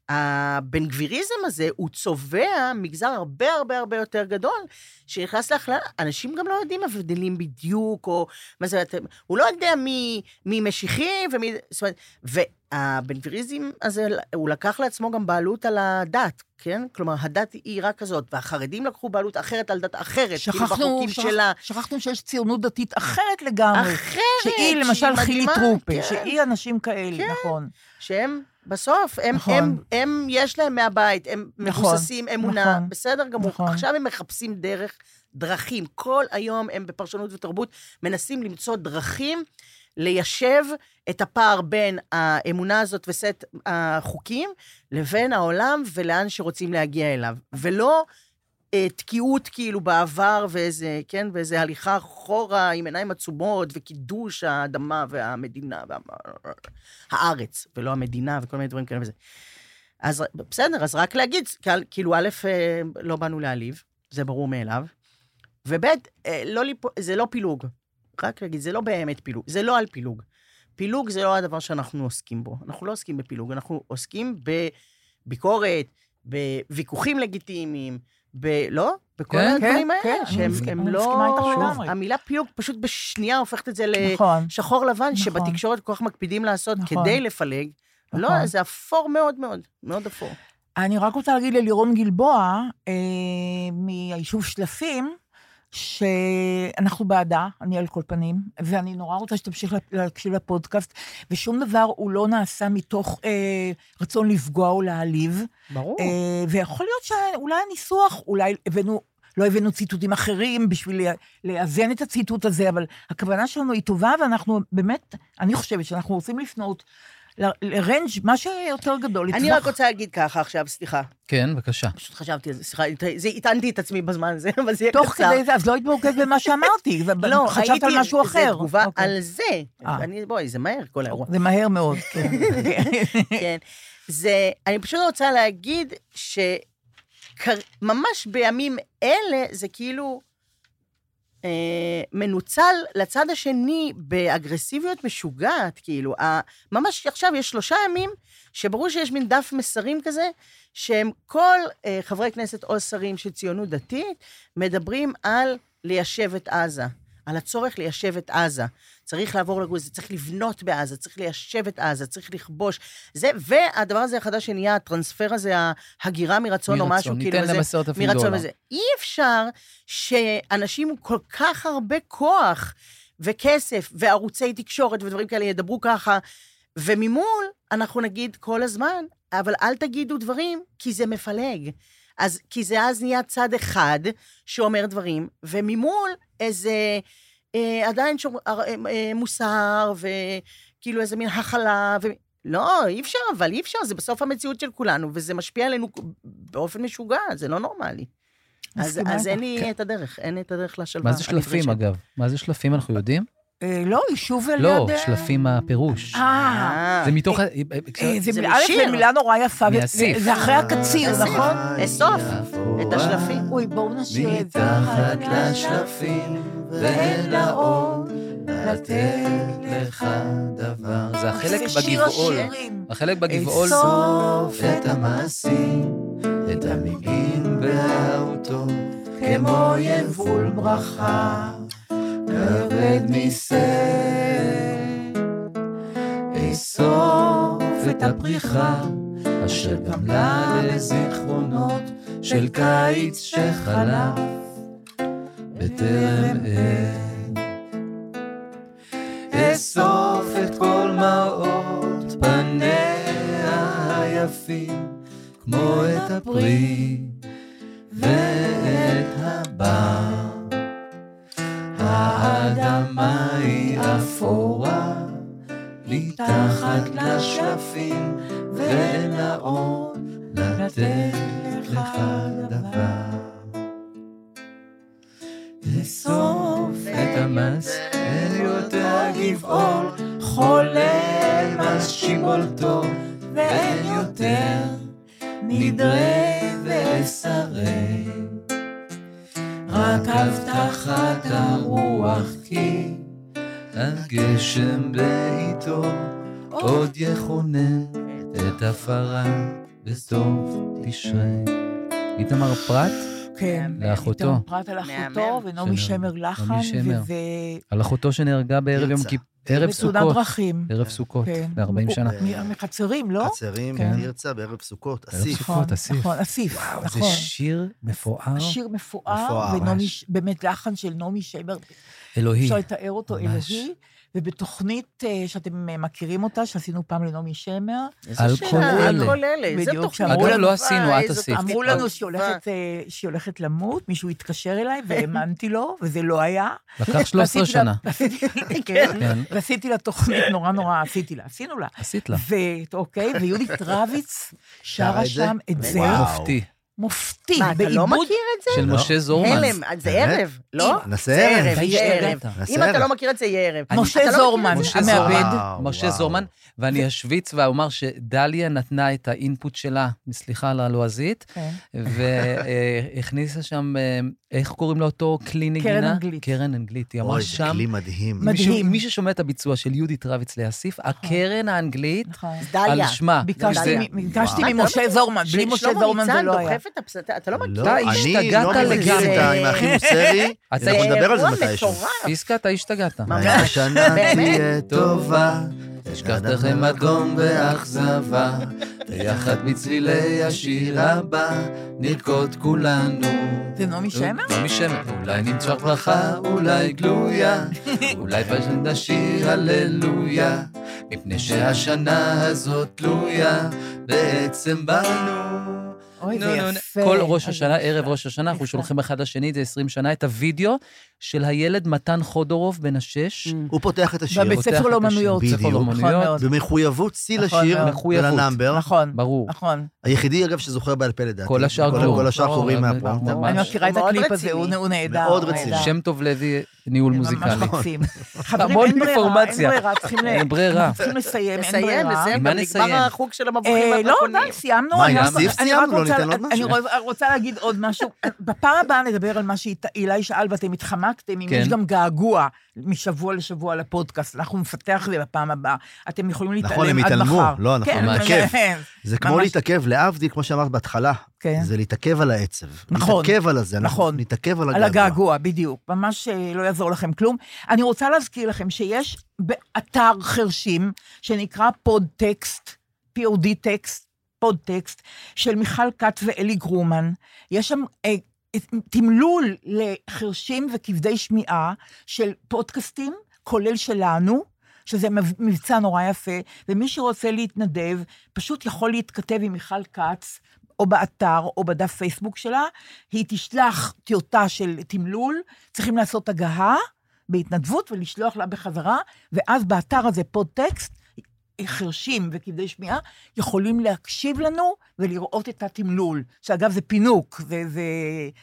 והבן גביריזם הזה, הוא צובע מגזר הרבה הרבה הרבה יותר גדול, שנכנס להכללה. אנשים גם לא יודעים הבדלים בדיוק, או מה זה, אתם, הוא לא יודע מי, מי משיחי ומי... זאת אומרת, והבן גביריזם הזה, הוא לקח לעצמו גם בעלות על הדת. כן? כלומר, הדת היא רק כזאת, והחרדים לקחו בעלות אחרת על דת אחרת, כאילו
שכחנו,
בחוקים
שכח-
שלה.
שכחנו שיש ציונות דתית אחרת לגמרי.
אחרת,
שהיא למשל
שהיא
חילי
מדהימה,
טרופר,
כן.
שהיא אנשים כאלה,
כן.
נכון.
שהם בסוף, הם,
נכון.
נכון. הם, הם, יש להם מהבית, הם
נכון,
מבוססים אמונה,
נכון,
בסדר גמור.
נכון.
עכשיו הם מחפשים דרך דרכים. כל היום הם בפרשנות ותרבות מנסים למצוא דרכים ליישב את הפער בין האמונה הזאת וסט החוקים לבין העולם ולאן שרוצים להגיע אליו. ולא אה, תקיעות כאילו בעבר ואיזה, כן, ואיזה הליכה אחורה עם עיניים עצומות וקידוש האדמה והמדינה והארץ, ולא המדינה וכל מיני דברים כאלה וזה. אז בסדר, אז רק להגיד, כאל- כאילו, א', אה, לא באנו להעליב, זה ברור מאליו, וב', אה, לא, ליפ- זה לא פילוג. רק להגיד, זה לא באמת פילוג, זה לא על פילוג. פילוג זה לא הדבר שאנחנו עוסקים בו. אנחנו לא עוסקים בפילוג, אנחנו עוסקים בביקורת, בוויכוחים לגיטימיים, ב... לא? בכל
כן,
הדברים
כן,
האלה,
כן, אני
שהם
מסכימה-
הם
אני
לא...
מסכימה איתך לגמרי.
המילה פילוג פשוט בשנייה הופכת את זה ל...
נכון.
שחור לבן,
נכון.
שבתקשורת כל כך מקפידים לעשות
נכון.
כדי לפלג.
נכון.
לא, זה אפור מאוד מאוד, מאוד אפור.
אני רק רוצה להגיד ללירון גלבוע, אה, מהיישוב שלפים, שאנחנו בעדה, אני על כל פנים, ואני נורא רוצה שתמשיך לה- להקשיב לפודקאסט, ושום דבר הוא לא נעשה מתוך אה, רצון לפגוע או להעליב.
ברור.
אה, ויכול להיות שאולי הניסוח, אולי הבאנו, לא הבאנו ציטוטים אחרים בשביל לה- לאזן את הציטוט הזה, אבל הכוונה שלנו היא טובה, ואנחנו באמת, אני חושבת שאנחנו רוצים לפנות ל- לרנג' מה שיותר גדול,
אני רק רוצה להגיד ככה עכשיו, סליחה.
כן, בבקשה.
פשוט חשבתי על זה, סליחה, הת- זה- הטענתי את עצמי בזמן הזה, אבל זה יהיה קצר.
תוך כדי זה, אז לא התמוקד במה שאמרתי,
לא,
חשבת על
הייתי-
משהו אחר.
זה תגובה
אוקיי.
על זה.
אה.
אני, בואי, זה מהר כל האירוע.
זה מהר מאוד, כן.
כן. זה, אני פשוט רוצה להגיד שממש בימים אלה זה כאילו אה, מנוצל לצד השני באגרסיביות משוגעת, כאילו. ה, ממש עכשיו יש שלושה ימים שברור שיש מין דף מסרים כזה, שהם כל אה, חברי כנסת או שרים של ציונות דתית מדברים על ליישב את עזה. על הצורך ליישב את עזה. צריך לעבור לגור, זה צריך לבנות בעזה, צריך ליישב את עזה, צריך לכבוש. זה, והדבר הזה החדש שנהיה, הטרנספר הזה, ההגירה מרצון, או
מרצון,
משהו,
ניתן
כאילו,
להם
וזה-
עשרת אלפים
מרצון
לא,
דולר.
וזה. אי אפשר שאנשים עם כל כך הרבה כוח וכסף וערוצי תקשורת ודברים כאלה ידברו ככה, וממול אנחנו נגיד כל הזמן, אבל אל תגידו דברים, כי זה מפלג. אז, כי זה אז נהיה צד אחד שאומר דברים, וממול איזה אה, עדיין שומר, אה, אה, מוסר, וכאילו איזה מין הכלה, ו... לא, אי אפשר, אבל אי אפשר, זה בסוף המציאות של כולנו, וזה משפיע עלינו באופן משוגע, זה לא נורמלי. אז,
מסכימה
אז אין
איתך.
לי את הדרך, אין את הדרך לשלווה.
מה זה שלפים,
הנדרשת.
אגב? מה זה שלפים, אנחנו יודעים?
אה, לא, יישוב על
לא,
יד, אה,
שלפים הפירוש.
אה,
אה,
זה מתוך... ה-
אה, זה
זה
מילה- א',
משיר. אה,
זה מילה נורא יפה, ו-
מאסיף.
זה אחרי הקציר,
מאסיף.
נכון?
אסוף
אה,
את השלפים.
אוי, בואו נשאיר את זה. אה,
מתחת לשלפים ואין לה עוד לתת לך דבר.
זה החלק
זה שיר
בגבעול.
השירים.
החלק בגבעול,
סוף את המעשים, את המגעים והאותות, כמו יבול ברכה, כבד מסר. אסוף את הפריחה, אשר גמלה לזיכרונות של קיץ שחלף, בטרם עת. אסוף את כל מעות פניה היפים, כמו את הפרי ואת הבר. האדמה היא אפורה, מתחת לשלפים, ואין האור לתת לך דבר. לאסוף את המס, להיות הגבעול, חולם על שיבולתו, ואין יותר נדרי ואסרי. רק הבטחת הרוח כי הגשם בעיתו עוד יכונן את הפרה בסוף תשרי.
איתמר פרת,
כן.
לאחותו.
איתמר פרט על אחותו,
מהמם.
ונעמי
של
שמר לחן,
שמר.
וזה...
על אחותו שנהרגה בערב יום
נרצח.
כיפור, ערב
בתאונת
סוכות.
דרכים.
ערב סוכות,
כן.
אוקיי.
ב-40 שנה.
הוא-
מ- מקצרים, לא?
קצרים,
כן.
תרצה, בערב סוכות,
בערב
אסיף.
סוכות. אסיף.
נכון, אסיף,
זה
נכון.
שיר מפואר.
שיר מפואר,
מפואר,
ונעמי,
ממש.
ש- באמת לחן של נעמי שמר,
אלוהי.
אפשר לתאר אותו
ממש.
אלוהי, ובתוכנית אה, שאתם אה, מכירים אותה, שעשינו פעם לנעמי שמר,
על
שאלה,
כל אלה.
על כל אלה. איזה
בדיוק,
תוכנית
שאמרו
טובה,
לנו, לא
עשינו, את
איזו
עשית.
תוכנית
אמרו
טובה.
לנו שהיא הולכת, אה, שהיא הולכת למות, מישהו התקשר אליי והאמנתי לו, וזה לא היה.
לקח 13
ועשיתי לה-
שנה.
עשיתי- כן.
כן, לא.
ועשיתי לה תוכנית נורא נורא, עשיתי לה, עשינו לה.
עשית לה.
ו- אוקיי, ויהודית רביץ שרה
את זה?
שם את זה,
וואו.
מופתי.
מופתי,
מה, אתה לא
בעיבוד
מכיר את זה?
של
לא.
משה זורמן.
הלם, אז זה
באמת?
ערב, לא?
נעשה
זה
ערב.
ערב,
אתה
זה ערב.
השתגעת.
נעשה
אם אתה
ערב.
לא מכיר את זה, יהיה ערב.
אני-
משה
אתה לא מכיר את
זורמן,
זה?
משה
המעבד.
זורמן,
וואו,
משה
וואו.
זורמן, ואני אשוויץ ואומר שדליה נתנה את האינפוט שלה, סליחה על הלועזית,
אה,
כן.
והכניסה שם, אה, איך קוראים לאותו כלי נגינה?
קרן אנגלית.
קרן אנגלית, היא אמרה
אוי, זה
שם,
כלי מדהים.
מדהים.
מישהו- מי ששומע את הביצוע של יהודית רביץ ליאסיף, הקרן האנגלית
נכון.
על
דליה.
שמה.
ביקשתי
אה, זה-
מ- ביקשתי
וואו.
ממשה זורמן, בלי
של-
משה
לא שלמה
זורמן זה
ניצן
לא היה.
דוחף את הפסנתר, אתה לא מכיר.
לא,
אתה
אני
השתגעת
לא מכיר
לגמרי.
את ה- עם האחים סרי,
אז זה
אנחנו נדבר על זה
אירוע
מתישהו.
מטורף.
פיסקה, אתה השתגעת.
ממש.
השנה
באמת.
תהיה טובה,
תשכח דרכם אדום ואכזבה, ביחד בצלילי השיר הבא, נרקוד כולנו.
זה נעמי שמר?
לא משמר. אולי נמצא ברכה, אולי גלויה, אולי פשוט נשיר הללויה, מפני שהשנה הזאת תלויה בעצם בנו.
אוי, זה
נו, נו, נו.
יפה.
לא, כל ראש
אז
השנה,
זה
ערב
נפלא.
ראש השנה, אנחנו
נפלא.
שולחים אחד לשני, זה 20 שנה, את הוידאו של הילד מתן חודורוב בן
Mm.
השש.
הוא פותח את השיר.
בבית
פותח
ספר לא
את
לאומנויות.
השיר.
בדיוק.
נכון
נכון
מאוד.
מאוד.
במחויבות שיא
נכון
לשיר
מאוד.
מחויבות.
ולנאמבר.
נכון,
ברור.
נכון.
היחידי, אגב, שזוכר בעל פה לדעתי.
כל השאר כלום.
כל השאר
ברור,
קוראים
אבל-
מהפרומטר.
ברור.
אני
ממש.
מכירה את
מאוד
הקליפ הזה,
רציני.
הוא הוא נהדר.
מאוד
הוא
רציני.
נהדר.
שם טוב לוי, ניהול
ממש נכון.
מוזיקלי.
מקסים. חברים,
המון
אין ברירה,
אינפורמציה.
אין ברירה, צריכים ל-
אין ברירה.
צריכים לסיים, אין
לסיים,
ברירה.
לסיים,
עם מה
גם נגמר
נסיים?
החוג של המבוכים
אה, לא, די,
והדרקונים.
סיימנו.
מה,
אני
עם
רק-
הסעיף
אני רק
סיימנו? לא
רוצה-
ניתן עוד
אני
משהו?
רוא- רוצה להגיד עוד משהו. בפעם הבאה נדבר על מה שאילי שאל ואתם התחמקתם, אם
כן.
יש גם געגוע משבוע לשבוע לפודקאסט, אנחנו נפתח את זה בפעם הבאה. אתם יכולים
נכון, הם
להתעלם עד
התעלמו.
מחר.
לא, אנחנו
כן,
נתעכב.
כן.
זה כמו
ממש.
להתעכב, להבדיל, כמו שאמרת בהתחלה,
כן.
זה להתעכב על העצב.
נכון.
להתעכב על הזה, אנחנו
נכון.
נתעכב על
על
הגעגוע.
הגעגוע, בדיוק. ממש אה, לא יעזור לכם כלום. אני רוצה להזכיר לכם שיש באתר חרשים, שנקרא פודטקסט, POD טקסט, פודטקסט, של מיכל כת ואלי גרומן. יש שם אה, את- תמלול לחרשים וכבדי שמיעה של פודקאסטים, כולל שלנו. שזה מב- מבצע נורא יפה, ומי שרוצה להתנדב, פשוט יכול להתכתב עם מיכל כץ, או באתר, או בדף פייסבוק שלה, היא תשלח טיוטה של תמלול, צריכים לעשות הגהה בהתנדבות ולשלוח לה בחזרה, ואז באתר הזה פודטקסט, חרשים וכבדי שמיעה יכולים להקשיב לנו ולראות את התמלול, שאגב זה פינוק, זה, זה,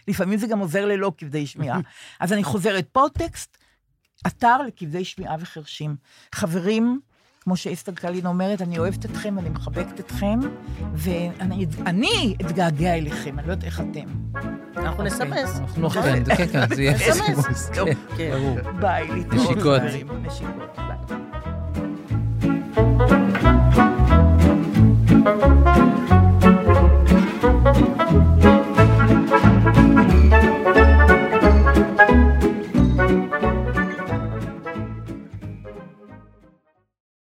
לפעמים זה גם עוזר ללא כבדי שמיעה. אז אני חוזרת, פודטקסט, אתר לכבדי שמיעה וחרשים. חברים, כמו שאסתר קלין אומרת, אני אוהבת אתכם, אני מחבקת אתכם, ואני אני אתגעגע אליכם, אני לא יודעת איך אתם.
אנחנו
אוקיי.
נסמס.
אנחנו כן, כן, כן, זה יהיה
SMS.
סימוס, כן,
כן.
ברור.
ביי, להתראות.
נשיקות.
חברים. נשיקות, ביי.